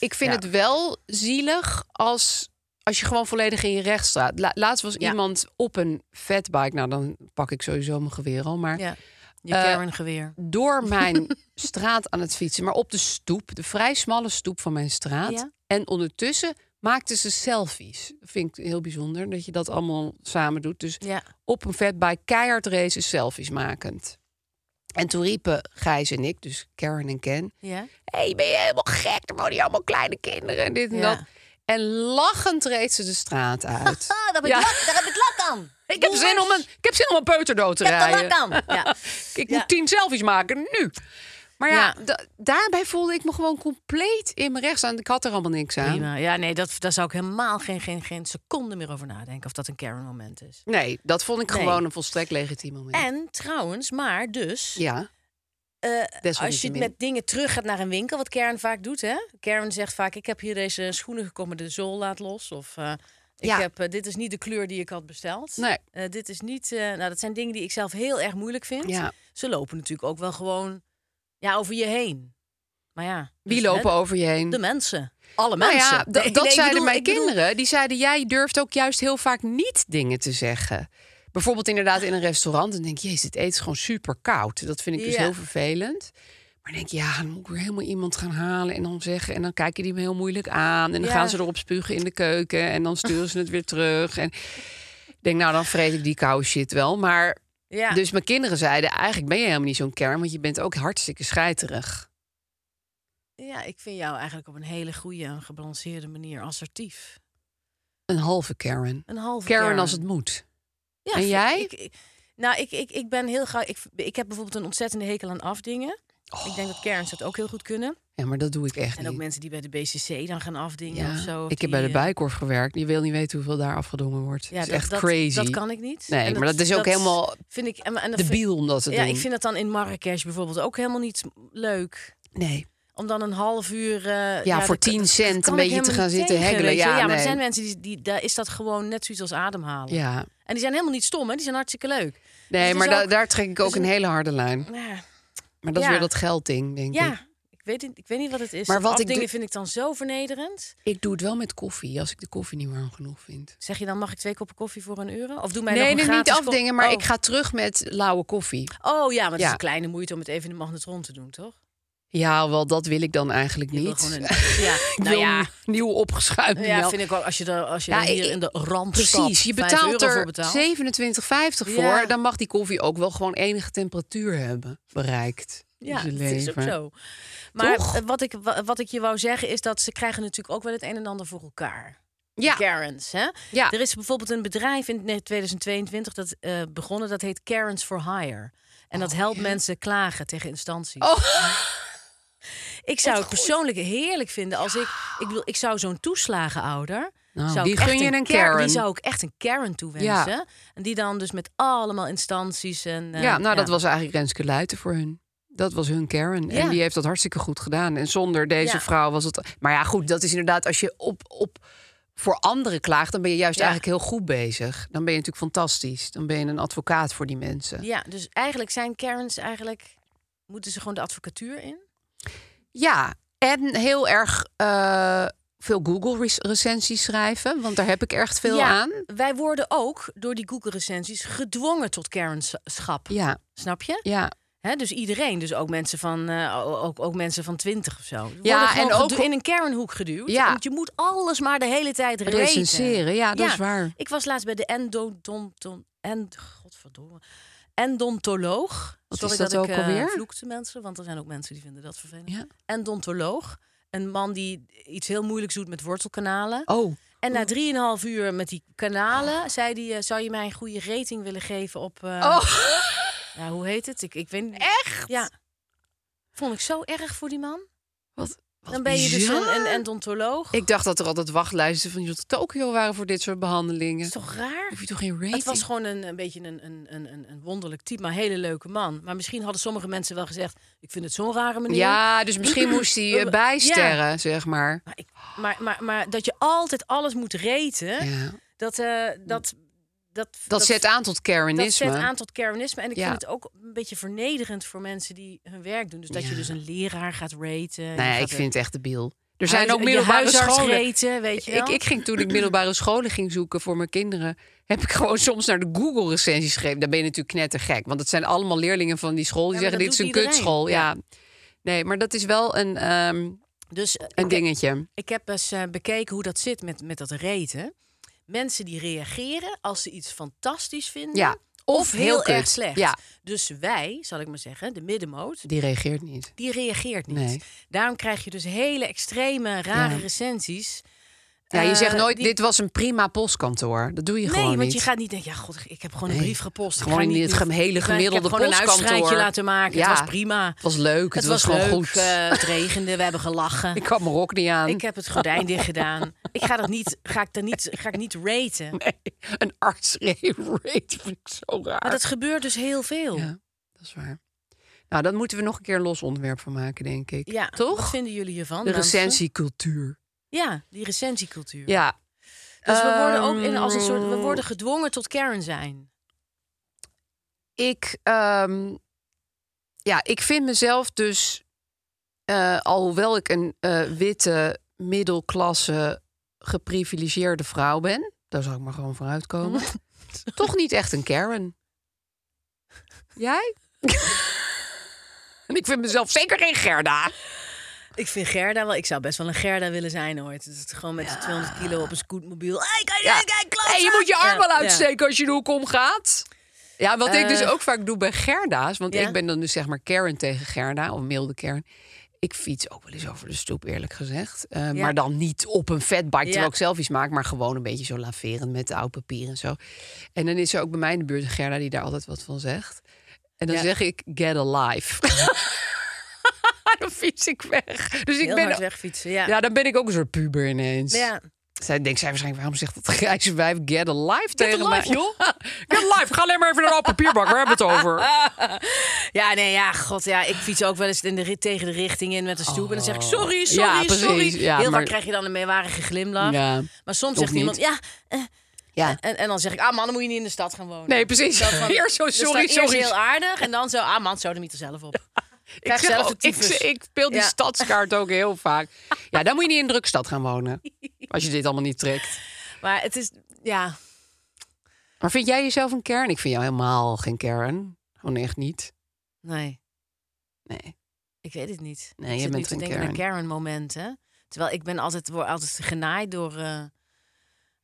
C: ik vind
B: Ja.
C: het wel zielig als, als je gewoon volledig in je recht staat. La- laatst was
B: Ja.
C: iemand op een fatbike. Nou, dan pak ik sowieso mijn geweer al. Maar
B: Ja. Je
C: Eh,
B: Karen-geweer. (laughs)
C: door mijn straat aan het fietsen. Maar op de stoep, de vrij smalle stoep van mijn straat.
B: Ja.
C: En ondertussen maakten ze selfies. Vind ik heel bijzonder dat je dat allemaal samen doet. Dus
B: Ja.
C: op een fatbike keihard races selfies makend. En toen riepen Gijs en ik, dus Karen en Ken...
B: Ja.
C: Hé, ben je helemaal gek? Er wonen hier allemaal kleine kinderen en dit en
B: Ja.
C: dat. En lachend reed ze de straat
B: (laughs)
C: uit.
D: Ah, daar heb ik,
C: Ja.
D: lak, daar heb ik lak aan.
C: ik, heb zin om een, ik heb zin om een peuter dood te
D: Ik heb er
C: rijden.
D: lak aan. Ja.
C: (laughs) Ik
D: Ja.
C: moet tien selfies maken, nu. Maar ja,
B: Ja.
C: da- daarbij voelde ik me gewoon compleet in mijn recht staan. Ik had er allemaal niks aan.
B: Prima. Ja, nee, dat, daar zou ik helemaal geen, geen, geen seconde meer over nadenken of dat een Karen-moment is.
C: Nee, dat vond ik
B: Nee.
C: gewoon een volstrekt legitiem moment.
B: En trouwens, maar dus,
C: Oh Ja,
B: eh, als je
C: desalniettemin.
B: met dingen terug gaat naar een winkel, wat Karen vaak doet, hè? Karen zegt vaak: Ik heb hier deze schoenen gekocht, maar de zool laat los. Of eh, ik
C: Ja.
B: heb, eh, dit is niet de kleur die ik had besteld.
C: Nee.
B: Eh, dit is niet, eh, nou, dat zijn dingen die ik zelf heel erg moeilijk vind.
C: Ja.
B: Ze lopen natuurlijk ook wel gewoon ja, over je heen. Maar ja,
C: Wie
B: dus, hè,
C: lopen over je heen?
B: De mensen. Alle
C: Nou
B: mensen.
C: ja, da-
B: Nee,
C: dat
B: nee, ik
C: zeiden
B: bedoel-
C: mijn
B: ik bedoel-
C: kinderen. Die zeiden, jij durft ook juist heel vaak niet dingen te zeggen. Bijvoorbeeld inderdaad in een restaurant. En denk je, jezus, het eten is gewoon super koud. Dat vind ik dus
B: Ja.
C: heel vervelend. Maar dan denk je, ja, dan moet ik weer helemaal iemand gaan halen en dan zeggen. En dan kijken die me heel moeilijk aan. En dan
B: Ja.
C: gaan ze erop spugen in de keuken. En dan sturen ze het weer terug. En ik denk, nou, dan vreet ik die koude shit wel. Maar
B: Ja.
C: Dus mijn kinderen zeiden, eigenlijk ben je helemaal niet zo'n kern, want je bent ook hartstikke scheiterig.
B: ja, ik vind jou eigenlijk op een hele goede en gebalanceerde manier assertief.
C: Een halve Karen.
B: Een halve
C: Karen, als het moet.
B: Ja,
C: En
B: vind-
C: jij?
B: Ik, ik- nou, ik, ik, ik ben heel graag. Ik, ik heb bijvoorbeeld een ontzettende hekel aan afdingen. Ik denk dat
C: Oh.
B: kerns dat ook heel goed kunnen.
C: Ja, maar dat doe ik echt
B: En ook
C: niet.
B: mensen die bij de BCC dan gaan afdingen
C: Ja,
B: of zo. of
C: ik heb
B: die,
C: bij de
B: eh,
C: Bijkorf gewerkt. Je wil niet weten hoeveel daar afgedongen wordt.
B: Ja,
C: dat is
B: dat-
C: echt
B: dat-
C: crazy.
B: Dat kan ik niet.
C: Nee,
B: En
C: maar dat is ook helemaal
B: Vind ik, en, en dat vind-
C: Debiel om dat te
B: Ja,
C: doen.
B: ik vind dat dan in Marrakesh bijvoorbeeld ook helemaal niet leuk.
C: Nee,
B: Om dan een half uur... eh,
C: voor
B: dat-
C: 10
B: dat-
C: cent
B: dat
C: een
B: kan ik
C: beetje te
B: helemaal
C: gaan
B: niet
C: zitten
B: tegen,
C: hengelen,
B: weet je.
C: ja,
B: maar
C: nee.
B: er zijn mensen, die, die, daar is dat gewoon net zoiets als ademhalen.
C: ja.
B: En die zijn helemaal niet stom, hè. Die zijn hartstikke leuk. Dus
C: Nee,
B: het
C: maar
B: is
C: da-
B: ook-
C: daar trek ik ook
B: is
C: een
B: een-
C: hele harde lijn.
B: Ja,
C: Maar dat
B: Ja.
C: is weer dat geldding, denk ik.
B: ja. Ik, weet, niet- ik weet niet wat het is.
C: Maar
B: Maar
C: wat ik
B: wat dingen
C: doe-
B: vind ik dan zo vernederend.
C: Ik doe het wel met koffie, als ik de koffie niet warm genoeg vind.
B: Zeg je dan, mag ik twee koppen koffie voor een euro? Of doe mij nog
C: nee,
B: een
C: nee, niet
B: gratis kop-
C: afdingen, maar
B: Oh.
C: ik ga terug met lauwe koffie.
B: Oh ja, maar het
C: Ja.
B: is een kleine moeite om het even in de magnetron te doen, toch?
C: Ja, wel, dat wil ik dan eigenlijk
B: Je wil
C: niet.
B: gewoon een- ja,
C: (laughs) Ik
B: nou
C: wil
B: ja.
C: een nieuw opgeschuimd melk.
B: Ja, vind ik ook. Als je er, als je
C: Ja,
B: er hier
C: ik-
B: in de rand
C: Precies, je betaalt
B: euro
C: er
B: voor
C: 27,50
B: betaalt.
C: voor.
B: Ja.
C: Dan mag die koffie ook wel gewoon enige temperatuur hebben bereikt. in
B: Ja,
C: zijn
B: dat is ook
C: leven.
B: zo. Maar
C: Toch?
B: eh, wat ik, wa- wat ik je wou zeggen is dat ze krijgen natuurlijk ook wel het een en ander voor elkaar.
C: Ja,
B: Karens, hè?
C: Ja.
B: Er is bijvoorbeeld een bedrijf in ne- 2022 dat eh, begonnen, dat heet Karens for Hire. En dat helpt mensen klagen tegen instanties.
C: Oh.
B: Ik zou het persoonlijk heerlijk vinden als ik... Ik, wil, ik zou zo'n toeslagenouder...
C: Nou,
B: zou
C: die
B: ik echt
C: gun je een
B: Karen-
C: Karen.
B: Die zou ik echt een Karen toewensen. En die dan dus met allemaal instanties en...
C: (laughs)
B: eh,
C: ja, nou dat was eigenlijk Renske Luiten voor hun. Dat was hun Karen. En
B: Ja.
C: die heeft dat hartstikke goed gedaan. En zonder deze
B: Ja.
C: vrouw was het. Maar ja, goed, dat is inderdaad als je op, op voor anderen klaagt, dan ben je juist
B: Ja.
C: eigenlijk heel goed bezig. Dan ben je natuurlijk fantastisch. Dan ben je een advocaat voor die mensen. Ja,
B: Ja, dus eigenlijk zijn Karens eigenlijk... Moeten ze gewoon de advocatuur in?
C: en heel erg eh, veel Google rec- recensies schrijven, want daar heb ik echt veel
B: ja,
C: aan.
B: Wij worden ook door die Google-recensies gedwongen tot Karenschap.
C: Ja,
B: Snap je?
C: ja.
B: Hè, dus iedereen, dus ook mensen van, eh, ook, ook mensen van 20 of zo.
C: Ja, en
B: en
C: ook-
B: ook in een kernhoek geduwd.
C: Ja.
B: Want je moet alles maar de hele tijd reten.
C: Recenseren, ja, dat is waar.
B: Ik was laatst bij de endodonton en godverdomme endontoloog.
C: Wat
B: Sorry
C: is dat ook
B: ik eh,
C: alweer?
B: vloekte mensen, want er zijn ook mensen die vinden dat vervelend.
C: Ja.
B: Endontoloog, een man die iets heel moeilijks doet met wortelkanalen.
C: Oh,
B: En na 3,5 uur met die kanalen zei hij: eh, Zou je mij een goede rating willen geven op. eh,
C: Oh.
B: ja, hoe heet het? Ik, ik weet niet.
C: (laughs) echt?
B: Ja. Vond ik zo erg voor die man.
C: Wat, wat
B: Dan ben je dus
C: bizar.
B: een, een endontoloog.
C: Ik dacht dat er altijd wachtlijsten van Jot Tokio waren voor dit soort behandelingen.
B: is toch raar?
C: Hoef je toch geen rating?
B: Het was gewoon een, een beetje een, een, een, een- een wonderlijk type, maar een hele leuke man. Maar misschien hadden sommige mensen wel gezegd: Ik vind het zo'n rare manier.
C: Ja, dus misschien moest hij eh,
B: (clears throat) Ja.
C: bijsterren, zeg maar.
B: Maar, ik, maar, maar, maar dat je altijd alles moet reten,
C: Ja.
B: dat, eh, dat, dat,
C: Dat, zet aan tot Karenisme.
B: Dat zet aan tot Karenisme. En ik
C: Ja.
B: vind het ook een beetje vernederend voor mensen die hun werk doen. Dus dat
C: Ja.
B: je dus een leraar gaat raten. en je
C: Nee,
B: gaat
C: Nou ik
B: een
C: vind het echt debiel. Er
B: huis-
C: zijn ook
B: je
C: middelbare
B: huisarts
C: scholen.
B: raten, weet je wel.
C: Ik, ik ging toen ik middelbare scholen ging zoeken voor mijn kinderen, heb ik (laughs) gewoon soms naar de Google recensies geschreven. Dan ben je natuurlijk knettergek, want het zijn allemaal leerlingen van die school die
B: Ja, maar
C: zeggen
B: dat
C: dit is een
B: doet iedereen.
C: kutschool. Ja. Nee, maar dat is wel een, ehm,
B: dus eh,
C: een
B: ik-
C: dingetje.
B: Ik heb eens eh, bekeken hoe dat zit met, met dat reten. Mensen die reageren als ze iets fantastisch vinden.
C: Ja,
B: Of,
C: of heel
B: heel,
C: kut.
B: erg slecht.
C: Ja.
B: Dus wij, zal ik maar zeggen, de middenmoot,
C: Die reageert niet.
B: die reageert niet.
C: Nee.
B: Daarom krijg je dus hele extreme, rare
C: Ja.
B: recensies.
C: Ja, je
B: Eh,
C: zegt nooit,
B: die-
C: dit was een prima postkantoor. Dat doe je
B: Nee,
C: gewoon niet.
B: want je gaat niet denken, ja, god, ik heb gewoon een
C: Nee.
B: brief gepost. Ik
C: Gewoon
B: ga
C: in
B: niet
C: het
B: nu-
C: gem- hele gemiddelde
B: Ik heb gewoon een
C: postkantoor.
B: uitschrijntje laten maken.
C: Ja.
B: Het was prima.
C: Het was leuk, het, was, gewoon
B: leuk,
C: goed. (laughs)
B: eh, het regende, we hebben gelachen.
C: ik had mijn rok niet aan.
B: Ik heb het gordijn dicht gedaan. Ik ga dat niet, ga ik daar niet, ga ik niet raten.
C: (laughs) Nee, een arts rate vind ik zo raar.
B: Maar dat gebeurt dus heel veel.
C: Ja, dat is waar. Nou, dan moeten we nog een keer een los onderwerp van maken, denk ik.
B: Ja, Wat
C: Toch?
B: vinden jullie hiervan?
C: De
B: mensen?
C: recensiecultuur.
B: Ja, die recensiecultuur.
C: Ja.
B: Dus we worden ook in,
C: Ehm,
B: als een soort, we worden gedwongen tot Karen zijn.
C: ik, ehm, ja, ik vind mezelf dus, eh, alhoewel ik een eh, witte, middelklasse, geprivilegeerde vrouw ben, daar zal ik maar gewoon vooruit (laughs) komen, toch niet echt een Karen. Jij? (laughs) en ik vind mezelf zeker geen Gerda.
B: Ik vind Gerda wel, ik zou best wel een Gerda willen zijn ooit. Dat het gewoon met 200 kilo op een scootmobiel. Hey, kijk,
C: Ja.
B: kijk, kijk, klootzak!
C: Hey, je moet je arm
B: Ja,
C: wel
B: ja.
C: uitsteken als je de hoek omgaat. Ja, wat ik dus
B: Eh.
C: ook vaak doe bij Gerda's. Want
B: Ja.
C: ik ben dan dus zeg maar Karen tegen Gerda. Of milde Kern. Ik fiets ook wel eens over de stoep, eerlijk gezegd. Eh, Maar dan niet op een fatbike, terwijl
B: Ja.
C: ik zelf iets maak. Maar gewoon een beetje zo laverend met oud papier en zo. En dan is er ook bij mij in de buurt een Gerda die daar altijd wat van zegt. En dan zeg ik, get
B: (laughs)
C: alive. (laughs) dan fiets ik weg. Dus ik
B: Heel
C: ben...
B: hard wegfietsen, nou- ja.
C: Ja, dan ben ik ik ook een soort puber ineens.
B: Ja.
C: Zij denkt zij waarschijnlijk, waarom zegt dat grijze wijf get alive tegen
B: alive,
C: mij? joh. get alive, ga alleen maar (laughs) even naar de papierbak, waar hebben we het over?
B: Ja, nee, ja, god, ja. Ik fiets ook wel eens in de, ri- tegen de richting in met de stoep. En dan zeg ik, sorry, sorry,
C: Ja, precies,
B: sorry.
C: ja,
B: Heel
C: maar-
B: vaak krijg je dan een meewarige glimlach.
C: Ja.
B: Maar soms
C: Of
B: zegt
C: niet.
B: iemand, ja. eh,
C: Ja.
B: En, en dan zeg ik, ah man, dan moet je niet in de stad gaan wonen.
C: Nee, precies. (laughs)
B: Zo van-
C: Eerst zo,
B: dus dan
C: sorry,
B: Eerst
C: sorry.
B: heel aardig en dan zo, ah man, zo er zelf
C: (laughs)
B: op.
C: ik,
B: krijg
C: zeg
B: zelf
C: ook,
B: de
C: ik,
B: tyfus.
C: ik speel die
B: Ja.
C: stadskaart ook heel vaak. Ja, dan moet je niet in een drukstad gaan wonen. Als je dit allemaal niet trekt.
B: Maar het is, ja,
C: Maar vind jij jezelf een kern? Ik vind jou helemaal geen kern. Gewoon echt niet.
B: nee,
C: Nee.
B: ik weet het niet.
C: Nee,
B: ik
C: je
B: zit
C: bent
B: nu te
C: geen
B: denken naar
C: Karen.
B: Karen-momenten. Terwijl ik ben altijd, word altijd genaaid door, eh,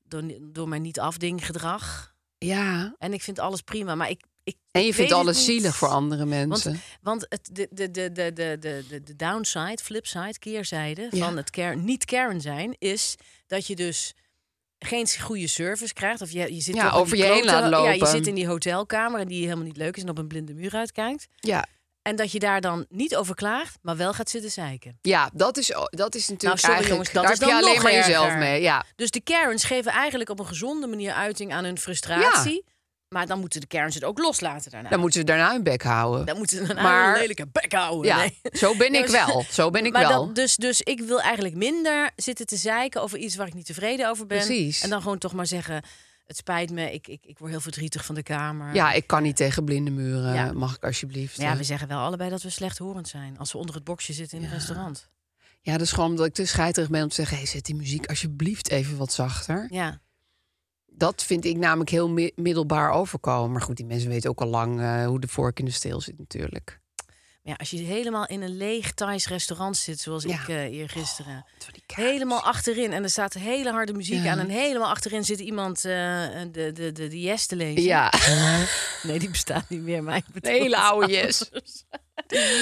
B: door, door mijn niet-afding-gedrag.
C: Ja.
B: En ik vind alles prima, maar ik... ik
C: En je
B: ik
C: vindt
B: weet het
C: alles
B: niet.
C: zielig voor andere
B: Want,
C: mensen.
B: want het, de, de, de, de, de, de, de- de downside, flipside, keerzijde
C: Ja.
B: van het Karen, niet Karen zijn... is dat je dus geen goede service krijgt. Of je, je zit
C: Ja,
B: toch in
C: over
B: die
C: je heen
B: klote-
C: laten
B: Ja, je
C: lopen.
B: zit in die hotelkamer en die helemaal niet leuk is... en op een blinde muur uitkijkt.
C: ja.
B: En dat je daar dan niet over klaagt, maar wel gaat zitten zeiken.
C: Ja, dat is, dat is natuurlijk
B: Nou, sorry,
C: eigenlijk...
B: jongens, dat
C: daar
B: is
C: heb je
B: dan
C: alleen
B: nog
C: maar jezelf
B: erger.
C: mee. Ja,
B: Dus de Karens geven eigenlijk op een gezonde manier uiting aan hun frustratie. Maar dan moeten de Karens het ook loslaten daarna.
C: dan moeten ze daarna hun bek houden.
B: dan moeten ze een
C: Maar-
B: hele lelijke bek houden.
C: ja,
B: Nee.
C: zo
B: (laughs)
C: ben ik
B: Dus-
C: wel. Zo ben ik
B: maar
C: wel.
B: Dan, dus, dus ik wil eigenlijk minder zitten te zeiken over iets waar ik niet tevreden over ben.
C: Precies.
B: En dan gewoon toch maar zeggen, het spijt me, ik, ik, ik word heel verdrietig van de kamer.
C: ja, ik kan niet tegen blinde muren.
B: dus- Ja.
C: Mag ik alsjeblieft?
B: Maar ja, we
C: eh?
B: zeggen wel allebei dat we slechthorend zijn. Als we onder het boxje zitten in een restaurant.
C: ja, dat is gewoon omdat ik te scheiterig ben om te zeggen... Hey, zet die muziek alsjeblieft even wat zachter.
B: Ja,
C: Dat vind ik namelijk heel mi- middelbaar overkomen. Maar goed, die mensen weten ook al lang eh, hoe de vork in de steel zit natuurlijk.
B: maar ja als je helemaal in een leeg Thais restaurant zit, zoals
C: Ja.
B: ik eh hier gisteren.
C: Van die kaars.
B: Helemaal achterin. En er staat hele harde muziek
C: Ja.
B: aan. En helemaal achterin zit iemand eh, de, de, de, de yes te lezen.
C: Ja,
B: (laughs) Nee, die bestaat niet meer. Maar ik
C: een (laughs)
B: bedoel
C: hele
B: het
C: oude
B: anders.
C: yes.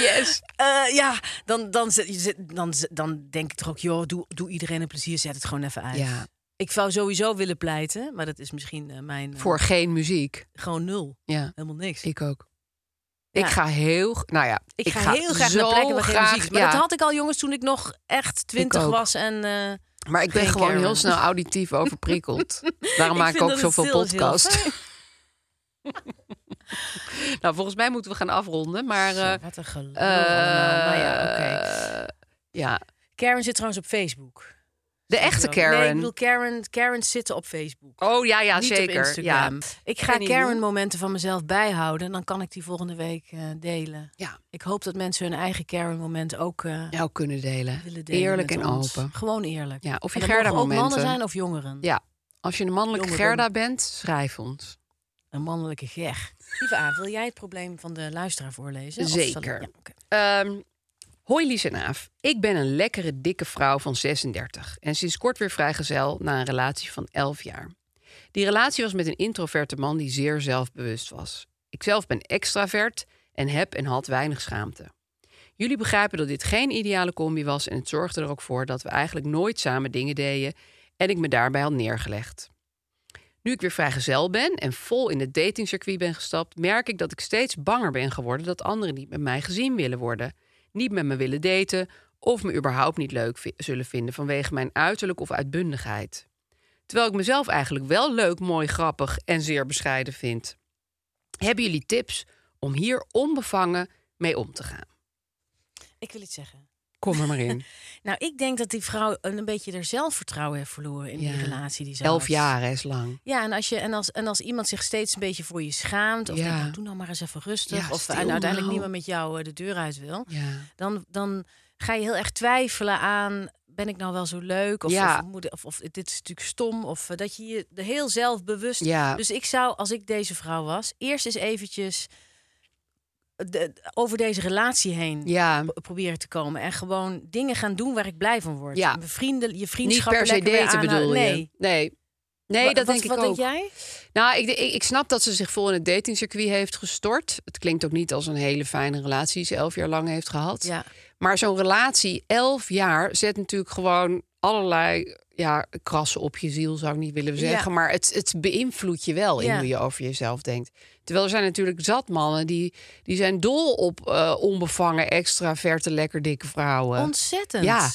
C: Yes.
B: Eh, ja, dan, dan, zit- je zit- dan, zit- dan denk ik toch ook... joh, doe, doe iedereen een plezier, zet het gewoon even uit.
C: Ja,
B: Ik zou sowieso willen pleiten, maar dat is misschien eh, mijn... eh,
C: voor geen muziek.
B: Gewoon nul.
C: Ja,
B: Helemaal niks.
C: ik ook.
B: Ja.
C: Ik ga heel, g- nou ja,
B: Ik ga, heel graag naar
C: zo
B: plekken waar geen
C: graag-
B: muziek is. Maar
C: ja.
B: dat had ik al, jongens, toen ik nog echt twintig
C: ook.
B: was. En eh,
C: Maar ik ben
B: Geen
C: gewoon
B: Karen.
C: heel snel auditief
B: (laughs)
C: overprikkeld. Daarom maak ik
B: vind
C: ook
B: dat
C: zoveel
B: het stil is heel
C: podcast.
B: fijn.
C: (laughs) nou, volgens mij moeten we gaan afronden. Maar eh,
B: Zo, wat een gelul allemaal.
C: eh,
B: Maar ja, oké.
C: ja,
B: Karen zit trouwens op Facebook.
C: de echte
B: geloof ik.
C: Karen.
B: Nee, ik bedoel Karen, Karen zitten op Facebook.
C: Oh ja, ja,
B: niet
C: zeker.
B: op Instagram.
C: Ja.
B: Ik ga
C: Geen idee.
B: Karen-momenten van mezelf bijhouden. En dan kan ik die volgende week eh, delen.
C: Ja.
B: Ik hoop dat mensen hun eigen Karen-moment ook eh,
C: Nou, kunnen delen.
B: willen delen.
C: Eerlijk
B: met
C: en
B: ons.
C: open.
B: Gewoon eerlijk.
C: Ja, of je
B: En dat mogen ook
C: Gerda-momenten.
B: mannen zijn of jongeren.
C: Ja, als je een mannelijke
B: Jongeren.
C: Gerda bent, schrijf ons.
B: Een mannelijke ger. Lieve A, wil jij het probleem van de luisteraar voorlezen? Of zal ik-
C: Zeker.
B: Ja, oké.
C: Ehm, hoi Lies en Aaf. Ik ben een lekkere, dikke vrouw van 36 en sinds kort weer vrijgezel na een relatie van 11 jaar. Die relatie was met een introverte man die zeer zelfbewust was. Ikzelf ben extravert en heb en had weinig schaamte. Jullie begrijpen dat dit geen ideale combi was en het zorgde er ook voor dat we eigenlijk nooit samen dingen deden en ik me daarbij had neergelegd. Nu ik weer vrijgezel ben en vol in het datingcircuit ben gestapt, merk ik dat ik steeds banger ben geworden dat anderen niet met mij gezien willen worden, niet met me willen daten of me überhaupt niet leuk vi- zullen vinden vanwege mijn uiterlijk of uitbundigheid. Terwijl ik mezelf eigenlijk wel leuk, mooi, grappig en zeer bescheiden vind. Hebben jullie tips om hier onbevangen mee om te gaan?
B: Ik wil iets zeggen.
C: Kom er maar in.
B: Nou, ik denk dat die vrouw een een beetje haar zelfvertrouwen heeft verloren in
C: Ja.
B: die relatie die
C: (laughs)
B: ze
C: Elf
B: had.
C: jaar hè, is lang.
B: Ja, en als, je, en, als, en als iemand zich steeds een beetje voor je schaamt... of
C: Ja.
B: denkt, nou, doe nou maar eens even rustig...
C: Ja,
B: of
C: stil
B: en uiteindelijk
C: nou.
B: niemand met jou eh, de deur uit wil...
C: Ja.
B: dan, dan ga je heel erg twijfelen aan... ben ik nou wel zo leuk? Of,
C: Ja.
B: of, moet- of, of dit is natuurlijk stom? Of eh, dat je je er heel zelfbewust...
C: Ja.
B: Dus ik zou, als ik deze vrouw was... eerst eens eventjes de- over deze relatie heen...
C: ja.
B: pro- proberen te komen en gewoon dingen gaan doen waar ik blij van word.
C: Ja.
B: Mijn Vrienden, je
C: Niet
B: vriendschap
C: per se daten bedoel
B: eh, nee.
C: je? Nee. Nee, dat
B: wat,
C: denk
B: wat
C: ik ook.
B: denk jij?
C: Nou, ik, ik, ik snap dat ze zich vol in het datingcircuit heeft gestort. Het klinkt ook niet als een hele fijne relatie die ze elf jaar lang heeft gehad.
B: Ja.
C: Maar zo'n relatie, elf jaar, zet natuurlijk gewoon allerlei ja, krassen op je ziel, zou ik niet willen zeggen. Maar het, het beïnvloedt je wel in
B: Ja.
C: hoe je over jezelf denkt. Terwijl er zijn natuurlijk zat mannen die, die zijn dol op eh, onbevangen, extraverte, lekker dikke vrouwen.
B: Ontzettend.
C: Ja.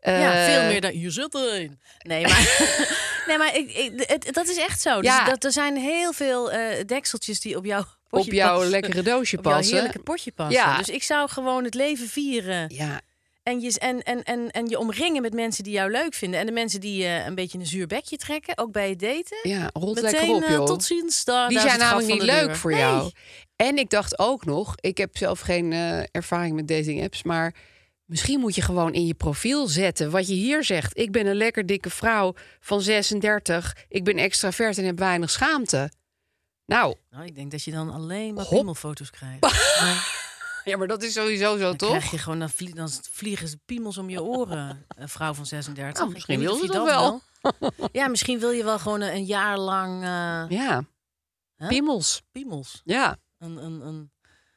B: ja,
C: Eh,
B: veel meer dan je zit erin. Nee, maar, nee, maar (laughs) ik, ik, het- dat is echt zo. Dus
C: Ja.
B: dat, er zijn heel veel eh, dekseltjes die op jouw
C: op
B: potje
C: jouw
B: passen.
C: lekkere doosje
B: op jouw
C: passen.
B: heerlijke potje passen.
C: Ja.
B: Dus ik zou gewoon het leven vieren.
C: Ja,
B: En je, en, en, en, en je omringen met mensen die jou leuk vinden. En de mensen die je een beetje een zuur bekje trekken. Ook bij het daten.
C: ja, rot
B: Meteen
C: lekker op,
B: eh,
C: joh.
B: tot ziens. Daar,
C: Die
B: daar is
C: zijn
B: het gat
C: namelijk
B: van
C: niet
B: de
C: leuk
B: deur.
C: voor
B: Nee.
C: jou. En ik dacht ook nog, ik heb zelf geen eh, ervaring met dating apps, maar misschien moet je gewoon in je profiel zetten wat je hier zegt. Ik ben een lekker dikke vrouw van 36. Ik ben extravert en heb weinig schaamte. Nou,
B: Nou, ik denk dat je dan alleen maar
C: Hop.
B: piemelfoto's krijgt. Maar
C: (laughs) ja, maar dat is sowieso zo,
B: dan
C: toch?
B: krijg je gewoon, dan, vlie- dan vliegen ze piemels om je
C: (laughs)
B: oren. Een vrouw van 36.
C: Nou,
B: Ik
C: misschien
B: weet niet
C: wil
B: of
C: ze
B: je
C: dat
B: wil. ja, misschien wil je wel gewoon een, een jaar lang eh,
C: Ja.
B: Hè?
C: Piemels.
B: piemels.
C: Ja.
B: Een, een, een...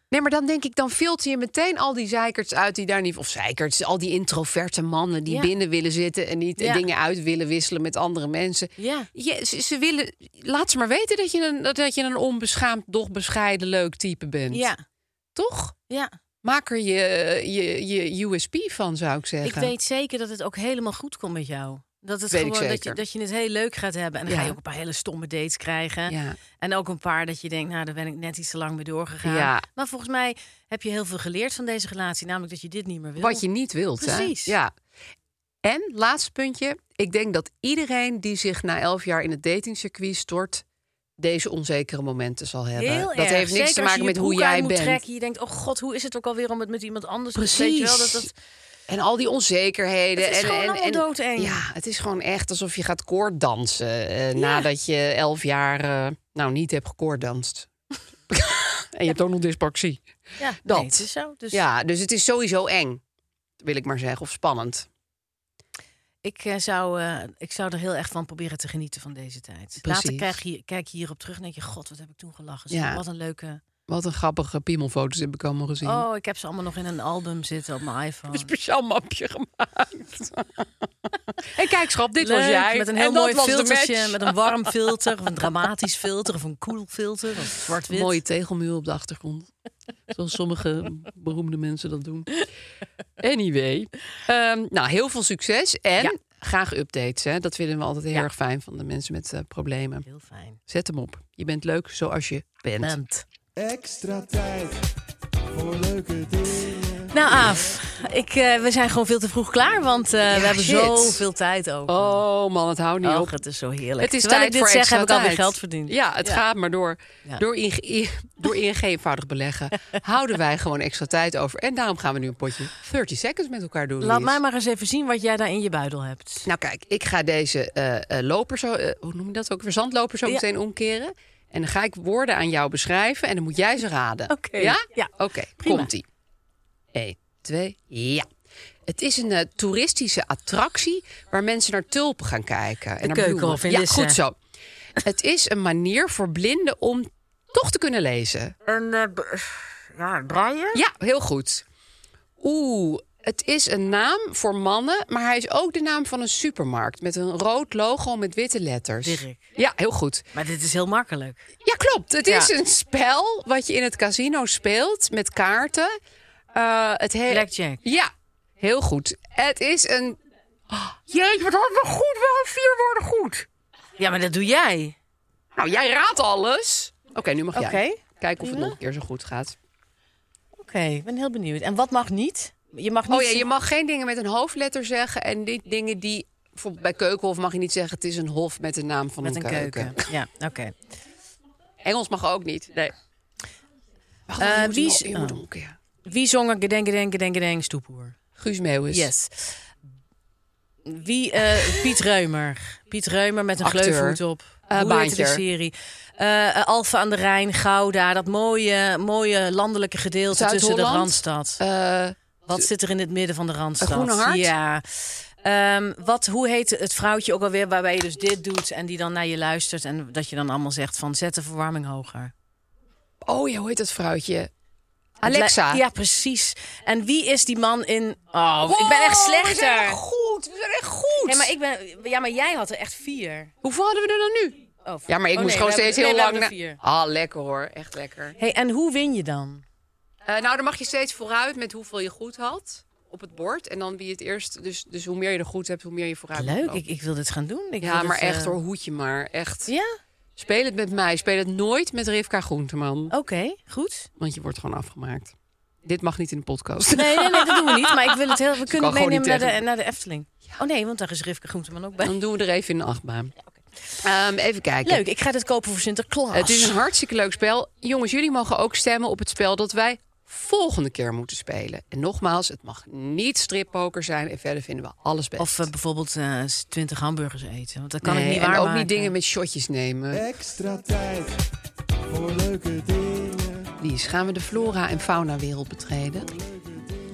C: Nee, maar dan denk ik, dan filter je meteen al die zeikerts uit die daar niet... Of zeikerts, al die introverte mannen die
B: Ja.
C: binnen willen zitten... en niet eh,
B: Ja.
C: dingen uit willen wisselen met andere mensen.
B: Ja.
C: Ja, ze, ze willen, laat ze maar weten dat je een, dat je een onbeschaamd, doch bescheiden leuk type bent.
B: Ja.
C: Toch?
B: Ja.
C: Maak er je, je, je USP van, zou ik
B: Ik
C: zeggen.
B: weet zeker dat het ook helemaal goed komt met jou. Dat het
C: Weet ik
B: gewoon dat je,
C: zeker.
B: dat je het heel leuk gaat hebben. En dan
C: Ja.
B: ga je ook een paar hele stomme dates krijgen.
C: Ja.
B: En ook een paar dat je denkt, nou, daar ben ik net iets te lang mee doorgegaan.
C: Ja.
B: Maar volgens mij heb je heel veel geleerd van deze relatie. Namelijk dat je dit niet meer wil.
C: Wat je niet wilt,
B: Precies.
C: hè? Ja. En, laatste puntje. Ik denk dat iedereen die zich na elf jaar in het datingcircuit stort... deze onzekere momenten zal hebben.
B: Heel
C: dat
B: erg.
C: heeft niks
B: Zeker
C: te
B: als
C: maken
B: je
C: met
B: je
C: hoe
B: broek aan
C: jij
B: moet
C: bent.
B: Trekken. Je denkt, oh god, hoe is het ook alweer om het met iemand anders te doen? Weet je wel, dat, dat,
C: En al die onzekerheden.
B: Het is
C: en,
B: gewoon
C: en,
B: allemaal
C: en-
B: doodeng.
C: Ja, het is gewoon echt alsof je gaat koorddansen. eh, Nadat je elf jaar eh, nou niet hebt gekoorddanst. (laughs) en je hebt ook nog dyspraxie.
B: ja, nee,
C: dat.
B: het is zo. Dus
C: Ja, dus het is sowieso eng. Wil ik maar zeggen. Of spannend.
B: ik, eh, zou, eh, ik zou er heel erg van proberen te genieten van deze tijd. Later
C: Precies.
B: krijg je, kijk je hierop terug en denk je, god, wat heb ik toen gelachen.
C: Ja.
B: Wat een leuke...
C: Wat een grappige piemelfoto's heb ik allemaal gezien.
B: Oh, ik heb ze allemaal nog in een album zitten op mijn iPhone.
C: speciaal mapje (laughs) gemaakt. en kijk schat, dit was
B: Leuk,
C: jij.
B: Met een
C: en
B: heel
C: dat
B: mooi
C: was de
B: filtertje.
C: match.
B: Met een warm filter, of een dramatisch filter, of een koel filter, of zwart-wit.
C: Mooie tegelmuur op de (laughs) achtergrond. Zoals sommige beroemde mensen dat doen. Anyway. ehm, nou, heel veel succes. En
B: Ja.
C: graag updates. Hè. Dat vinden we altijd heel
B: Ja.
C: erg fijn van de mensen met eh, problemen.
B: Heel fijn.
C: Zet hem op. Je bent leuk zoals je bent.
B: Bent.
E: Extra tijd voor leuke dingen.
B: Nou, Aaf, ik, eh, we zijn gewoon veel te vroeg klaar, want eh, we hebben
C: shit.
B: zoveel tijd over.
C: Oh man, het houdt niet
B: Och,
C: op.
B: het is zo heerlijk.
C: Het is
B: Terwijl
C: tijd
B: ik dit
C: voor
B: zeg,
C: extra
B: heb ik alweer
C: tijd.
B: geld verdiend.
C: Ja, het gaat maar door.
B: Ja.
C: Door, ING, i- (laughs) door ING eenvoudig (laughs) beleggen houden wij gewoon extra tijd over. En daarom gaan we nu een potje 30 seconds met elkaar doen.
B: Laat
C: Lies.
B: mij maar eens even zien wat jij daar in je buidel hebt.
C: Nou kijk, ik ga deze eh, eh, loper zo, eh, hoe noem je dat ook weer, zandloper zo
B: Ja.
C: meteen omkeren. En dan ga ik woorden aan jou beschrijven en dan moet jij ze raden.
B: Oké.
C: Ja?
B: Ja.
C: Oké,
B: Prima.
C: komt-ie. 1, 2, ja. Het is een eh, toeristische attractie waar mensen naar tulpen gaan kijken. en naar
B: Keukenhof
C: bloemen.
B: in
C: Ja,
B: Lisse.
C: goed zo. Het is een manier voor blinden om toch te kunnen lezen.
B: Een eh, ja, draaien?
C: Ja, heel goed. Oeh, het is een naam voor mannen, maar hij is ook de naam van een supermarkt met een rood logo met witte letters.
B: Dirk.
C: Ja, heel goed.
B: Maar dit is heel makkelijk.
C: Ja, klopt. Het
B: Ja.
C: is een spel wat je in het casino speelt met kaarten. Eh, het he-
B: Blackjack.
C: Ja, heel goed. Het is een. Oh, jeetje, wat hadden we goed? We hadden vier woorden goed.
B: Ja, maar dat doe jij.
C: Nou, jij raadt alles. Oké, nu mag jij.
B: Oké,
C: Kijken of het nog een keer zo goed gaat.
B: Oké, ik ben heel benieuwd. En wat mag niet? Je mag niet...
C: Oh ja, je mag geen dingen met een hoofdletter zeggen. En die dingen die. Bijvoorbeeld bij Keukenhof mag je niet zeggen: het is een hof met de naam van
B: Met
C: een,
B: een keuken. Ja, oké.
C: Engels mag ook niet. Nee. Wacht,
B: Eh,
C: je moet
B: wie
C: hem-
B: is-
C: je moet
B: oh.
C: hem omkeren.
B: Wie zong er gedenk, gedenk, gedenk, gedenk, stoephoer?
C: Guus Meeuwis.
B: Yes. Wie? eh,
C: (laughs)
B: Piet Reumer. Piet Reumer met een
C: Acteur.
B: gleufhoed op.
C: Eh,
B: Hoe heette de
C: Baantjer.
B: serie? Eh, eh, Alfa aan de Rijn, Gouda. Dat mooie, mooie landelijke gedeelte tussen de
C: Zuid-Holland?
B: Randstad.
C: Eh,
B: Wat zit er in het midden van de Randstad?
C: Een groene hart?
B: Ja. Ehm, wat, hoe heet het vrouwtje ook alweer waarbij je dus dit doet en die dan naar je luistert en dat je dan allemaal zegt van zet de verwarming hoger.
C: Oh ja, hoe heet dat vrouwtje? Alexa.
B: Ja, precies. En wie is die man in... Oh, ik ben echt
C: Wow, We
B: slechter.
C: zijn echt goed, we zijn echt goed.
B: Nee, maar ik ben, ja, maar jij had er echt vier.
C: Hoeveel hadden we er dan nu?
B: Oh,
C: Ja, maar ik
B: oh,
C: moest
B: nee,
C: gewoon
B: we
C: steeds
B: hebben-
C: heel
B: nee, we
C: lang...
B: hebben er
C: na- Ah, lekker hoor. Echt lekker.
B: vier. Hey, en hoe win je dan?
C: Eh, nou, dan mag je steeds vooruit met hoeveel je goed had op het bord. En dan wie het eerst... Dus, dus hoe meer je er goed hebt, hoe meer je vooruit moet
B: Leuk,
C: lopen.
B: ik, ik wil dit gaan doen. Ik wil
C: Ja,
B: dit,
C: maar echt
B: eh,
C: hoor, hoedje maar. Echt.
B: Ja,
C: Speel het met mij. Speel het nooit met Rivka Groenteman.
B: oké,
C: (laughs)
B: goed.
C: Want je wordt gewoon afgemaakt. Dit mag niet in de podcast.
B: Nee, nee, nee, dat doen we niet. Maar ik wil het heel... We kunnen het
C: gewoon
B: meenemen naar
C: niet
B: de,
C: tegen.
B: naar de Efteling. Oh nee, want daar is Rivke Groenteman ook bij.
C: (laughs)
B: (laughs)
C: Dan doen we er even in de achtbaan. Ehm, even kijken.
B: Leuk, ik ga dit kopen voor Sinterklaas.
C: Het is een hartstikke leuk spel. Jongens, jullie mogen ook stemmen op het spel dat wij volgende keer moeten spelen. En nogmaals, het mag niet strippoker zijn. En verder vinden we alles best.
B: Of eh, bijvoorbeeld twintig hamburgers eten. Want dat kan ik
C: Nee,
B: niet
C: en
B: waarmaken.
C: ook niet dingen met shotjes nemen.
E: Extra tijd voor leuke dingen.
C: Lies, gaan we de flora- en fauna-wereld betreden?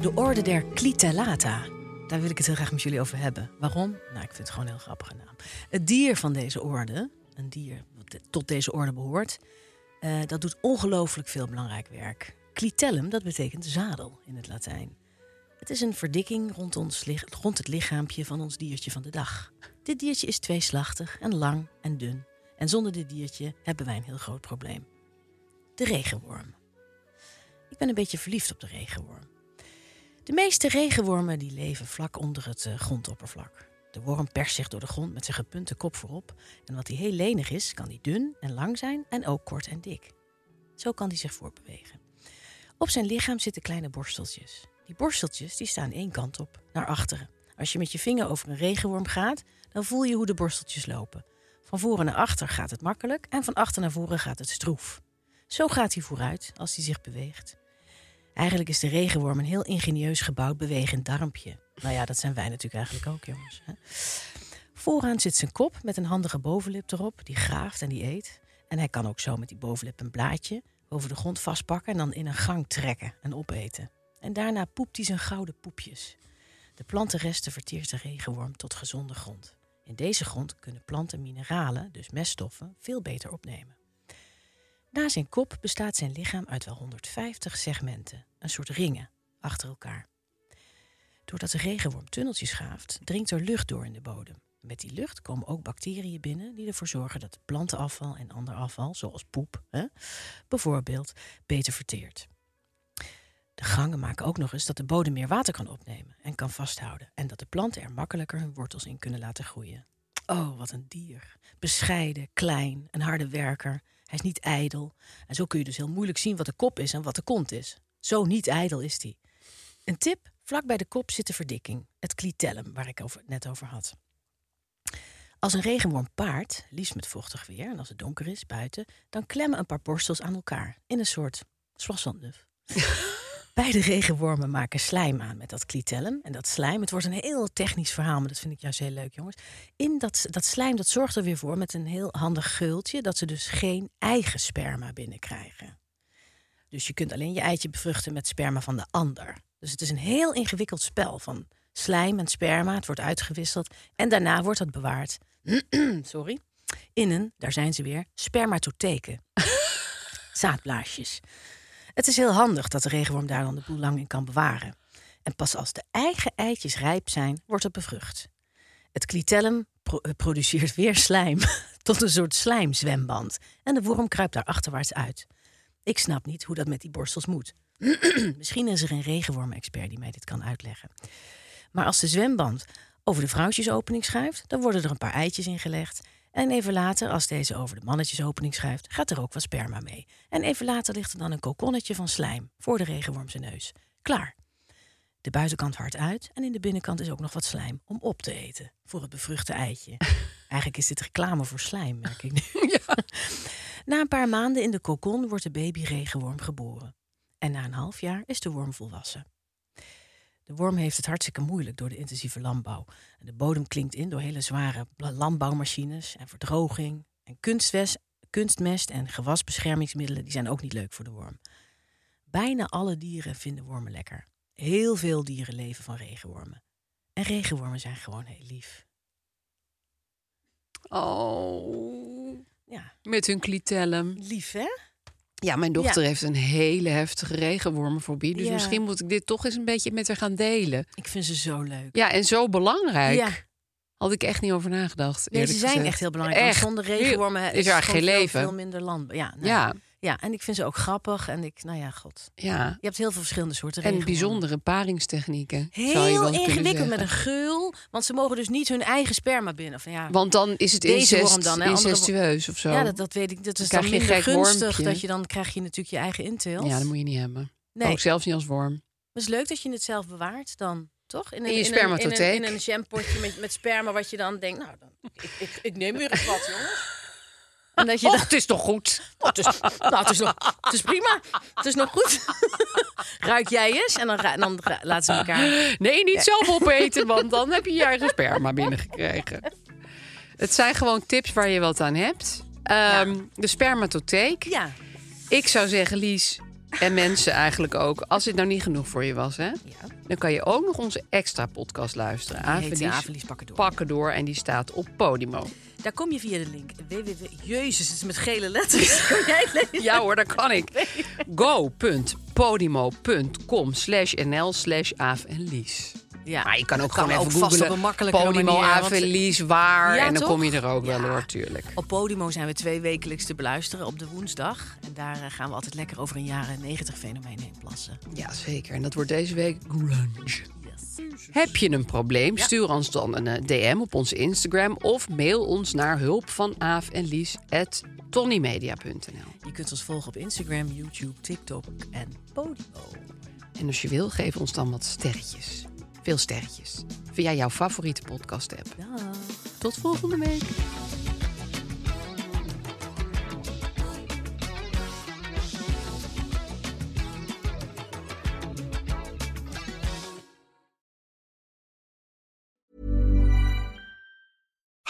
B: De orde der Clitellata. Daar wil ik het heel graag met jullie over hebben. Waarom? Nou, ik vind het gewoon een heel grappige naam. Het dier van deze orde, een dier wat de- tot deze orde behoort, eh, dat doet ongelooflijk veel belangrijk werk. Clitellum, dat betekent zadel in het Latijn. Het is een verdikking rond, ons, lich- rond het lichaampje van ons diertje van de dag. Dit diertje is tweeslachtig en lang en dun. En zonder dit diertje hebben wij een heel groot probleem. De regenworm. Ik ben een beetje verliefd op de regenworm. De meeste regenwormen die leven vlak onder het eh, grondoppervlak. De worm perst zich door de grond met zijn gepunte kop voorop. En wat hij heel lenig is, kan hij dun en lang zijn en ook kort en dik. Zo kan hij zich voortbewegen. Op zijn lichaam zitten kleine borsteltjes. Die borsteltjes die staan één kant op, naar achteren. Als je met je vinger over een regenworm gaat, dan voel je hoe de borsteltjes lopen. Van voren naar achter gaat het makkelijk en van achter naar voren gaat het stroef. Zo gaat hij vooruit als hij zich beweegt. Eigenlijk is de regenworm een heel ingenieus gebouwd bewegend darmpje. Nou ja, dat zijn wij natuurlijk eigenlijk ook, jongens. Hè? Vooraan zit zijn kop met een handige bovenlip erop. Die graaft en die eet. En hij kan ook zo met die bovenlip een blaadje boven de grond vastpakken... en dan in een gang trekken en opeten. En daarna poept hij zijn gouden poepjes. De plantenresten verteert de regenworm tot gezonde grond. In deze grond kunnen planten mineralen, dus meststoffen, veel beter opnemen. Na zijn kop bestaat zijn lichaam uit wel 150 segmenten, een soort ringen, achter elkaar. Doordat de regenworm tunneltjes graaft, dringt er lucht door in de bodem. Met die lucht komen ook bacteriën binnen die ervoor zorgen dat plantenafval en ander afval, zoals poep, hè, bijvoorbeeld, beter verteert. De gangen maken ook nog eens dat de bodem meer water kan opnemen en kan vasthouden. En dat de planten er makkelijker hun wortels in kunnen laten groeien. Oh, wat een dier. Bescheiden, klein, een harde werker. Hij is niet ijdel. En zo kun je dus heel moeilijk zien wat de kop is en wat de kont is. Zo niet ijdel is hij. Een tip, vlak bij de kop zit de verdikking. Het clitellum, waar ik over, net over had. Als een regenworm paart, liefst met vochtig weer... en als het donker is buiten... dan klemmen een paar borstels aan elkaar. In een soort soissonnuf. Beide regenwormen maken slijm aan met dat clitellum. En dat slijm, het wordt een heel technisch verhaal, maar dat vind ik juist heel leuk, jongens. In dat, dat slijm, dat zorgt er weer voor met een heel handig geultje... dat ze dus geen eigen sperma binnenkrijgen. Dus je kunt alleen je eitje bevruchten met sperma van de ander. Dus het is een heel ingewikkeld spel van slijm en sperma. Het wordt uitgewisseld en daarna wordt dat bewaard. (clears throat) Sorry. In een, daar zijn ze weer, spermatotheken. Zaadblaasjes. Het is heel handig dat de regenworm daar dan de boel lang in kan bewaren. En pas als de eigen eitjes rijp zijn, wordt het bevrucht. Het clitellum pro- eh, produceert weer slijm, (laughs) tot een soort slijmzwemband. En de worm kruipt daar achterwaarts uit. Ik snap niet hoe dat met die borstels moet. (clears throat) Misschien is er een regenworm-expert die mij dit kan uitleggen. Maar als de zwemband over de vrouwtjesopening schuift, dan worden er een paar eitjes ingelegd. En even later, als deze over de mannetjesopening schuift, gaat er ook wat sperma mee. En even later ligt er dan een kokonnetje van slijm voor de regenworm zijn neus. Klaar. De buitenkant hard uit en in de binnenkant is ook nog wat slijm om op te eten voor het bevruchte eitje. Eigenlijk is dit reclame voor slijm, merk ik nu. (laughs) Na een paar maanden in de kokon wordt de baby regenworm geboren. En na een half jaar is de worm volwassen. De worm heeft het hartstikke moeilijk door de intensieve landbouw. En de bodem klinkt in door hele zware bla- landbouwmachines en verdroging. En kunstwes- kunstmest en gewasbeschermingsmiddelen die zijn ook niet leuk voor de worm. Bijna alle dieren vinden wormen lekker. Heel veel dieren leven van regenwormen. En regenwormen zijn gewoon heel lief.
C: Oh,
B: Ja,
C: met hun clitellum.
B: lief hè?
C: Ja, mijn dochter heeft een hele heftige regenwormenfobie. Dus
B: Ja.
C: misschien moet ik dit toch eens een beetje met haar gaan delen.
B: Ik vind ze zo leuk.
C: Ja, en zo belangrijk.
B: Ja.
C: Had ik echt niet over nagedacht.
B: Nee, ze
C: eerlijk
B: zijn
C: gezegd.
B: echt heel belangrijk. want
C: Echt.
B: Zonder regenwormen
C: Heel- is er eigenlijk
B: gewoon
C: geen
B: veel-
C: leven.
B: Veel minder land. Ja, nou,
C: Ja,
B: ja, en ik vind ze ook grappig. En ik, nou ja, god.
C: ja.
B: Je hebt heel veel verschillende soorten
C: En
B: regenwormen.
C: bijzondere paringstechnieken. zou je
B: Heel
C: dan kunnen
B: ingewikkeld met
C: zeggen.
B: een geul. Want ze mogen dus niet hun eigen sperma binnen. Of ja,
C: Want dan is het
B: Deze
C: incest,
B: worm dan, hè, andere-
C: incestueus of zo.
B: ja dat, dat weet ik. Dat is
C: krijg
B: dan
C: je een
B: minder
C: gek
B: gunstig.
C: wormpje.
B: Dat je dan krijg je natuurlijk je eigen inteelt.
C: Ja, dat moet je niet hebben.
B: nee,
C: Ook zelfs niet als worm.
B: maar het is leuk dat je het zelf bewaart dan. Toch?
C: In je
B: een- In een,
C: spermatotheek.
B: in een jampotje met, met sperma wat je dan denkt, nou, dan, ik, ik, ik neem weer eens wat, jongens. En dat je dan-
C: Och, het is toch goed?
B: Oh, het, is, nou, het, is nog, het is prima. Het is nog goed. (laughs) Ruik jij eens en dan, ra- dan ra- laten ze elkaar.
C: Nee, niet zelf opeten, want dan heb je je
B: (laughs)
C: eigen sperma binnengekregen. Het zijn gewoon tips waar je wat aan hebt. Ehm, De spermatotheek.
B: Ja,
C: Ik zou zeggen, Lies, en mensen eigenlijk ook... als dit nou niet genoeg voor je was, hè, dan kan je ook nog onze extra podcast luisteren.
B: heet
C: Averlies,
B: de Avelies pakken door.
C: pakken door en die staat op
B: (laughs)
C: Podimo.
B: Daar kom je via de link www. Jezus, het is met gele letters. (laughs) Kan jij het lezen?
C: Ja hoor, dat kan ik. go.podimo.com slash nl slash Aaf en Lies.
B: Ja,
C: Maar je kan ook
B: kan
C: gewoon
B: ook
C: even
B: vast
C: googlen.
B: op een makkelijkere
C: Podimo,
B: manier,
C: Aaf
B: want- eh,
C: en Lies, waar.
B: Ja,
C: en dan
B: toch?
C: kom je er ook
B: Ja.
C: wel hoor, tuurlijk.
B: Op Podimo zijn we twee wekelijks te beluisteren op de woensdag. En daar eh, gaan we altijd lekker over een jaren 90 fenomeen heen plassen.
C: Ja, zeker. En dat wordt deze week grunge. Heb je een probleem? Stuur ons dan een eh, DM op onze Instagram... of mail ons naar hulp van Aaf en Lies at tonnymedia.nl.
B: Je kunt ons volgen op Instagram, YouTube, TikTok en Podimo.
C: En als je wil, geef ons dan wat sterretjes. Veel sterretjes. Via jouw favoriete podcast-app.
B: Dag.
C: Tot volgende week.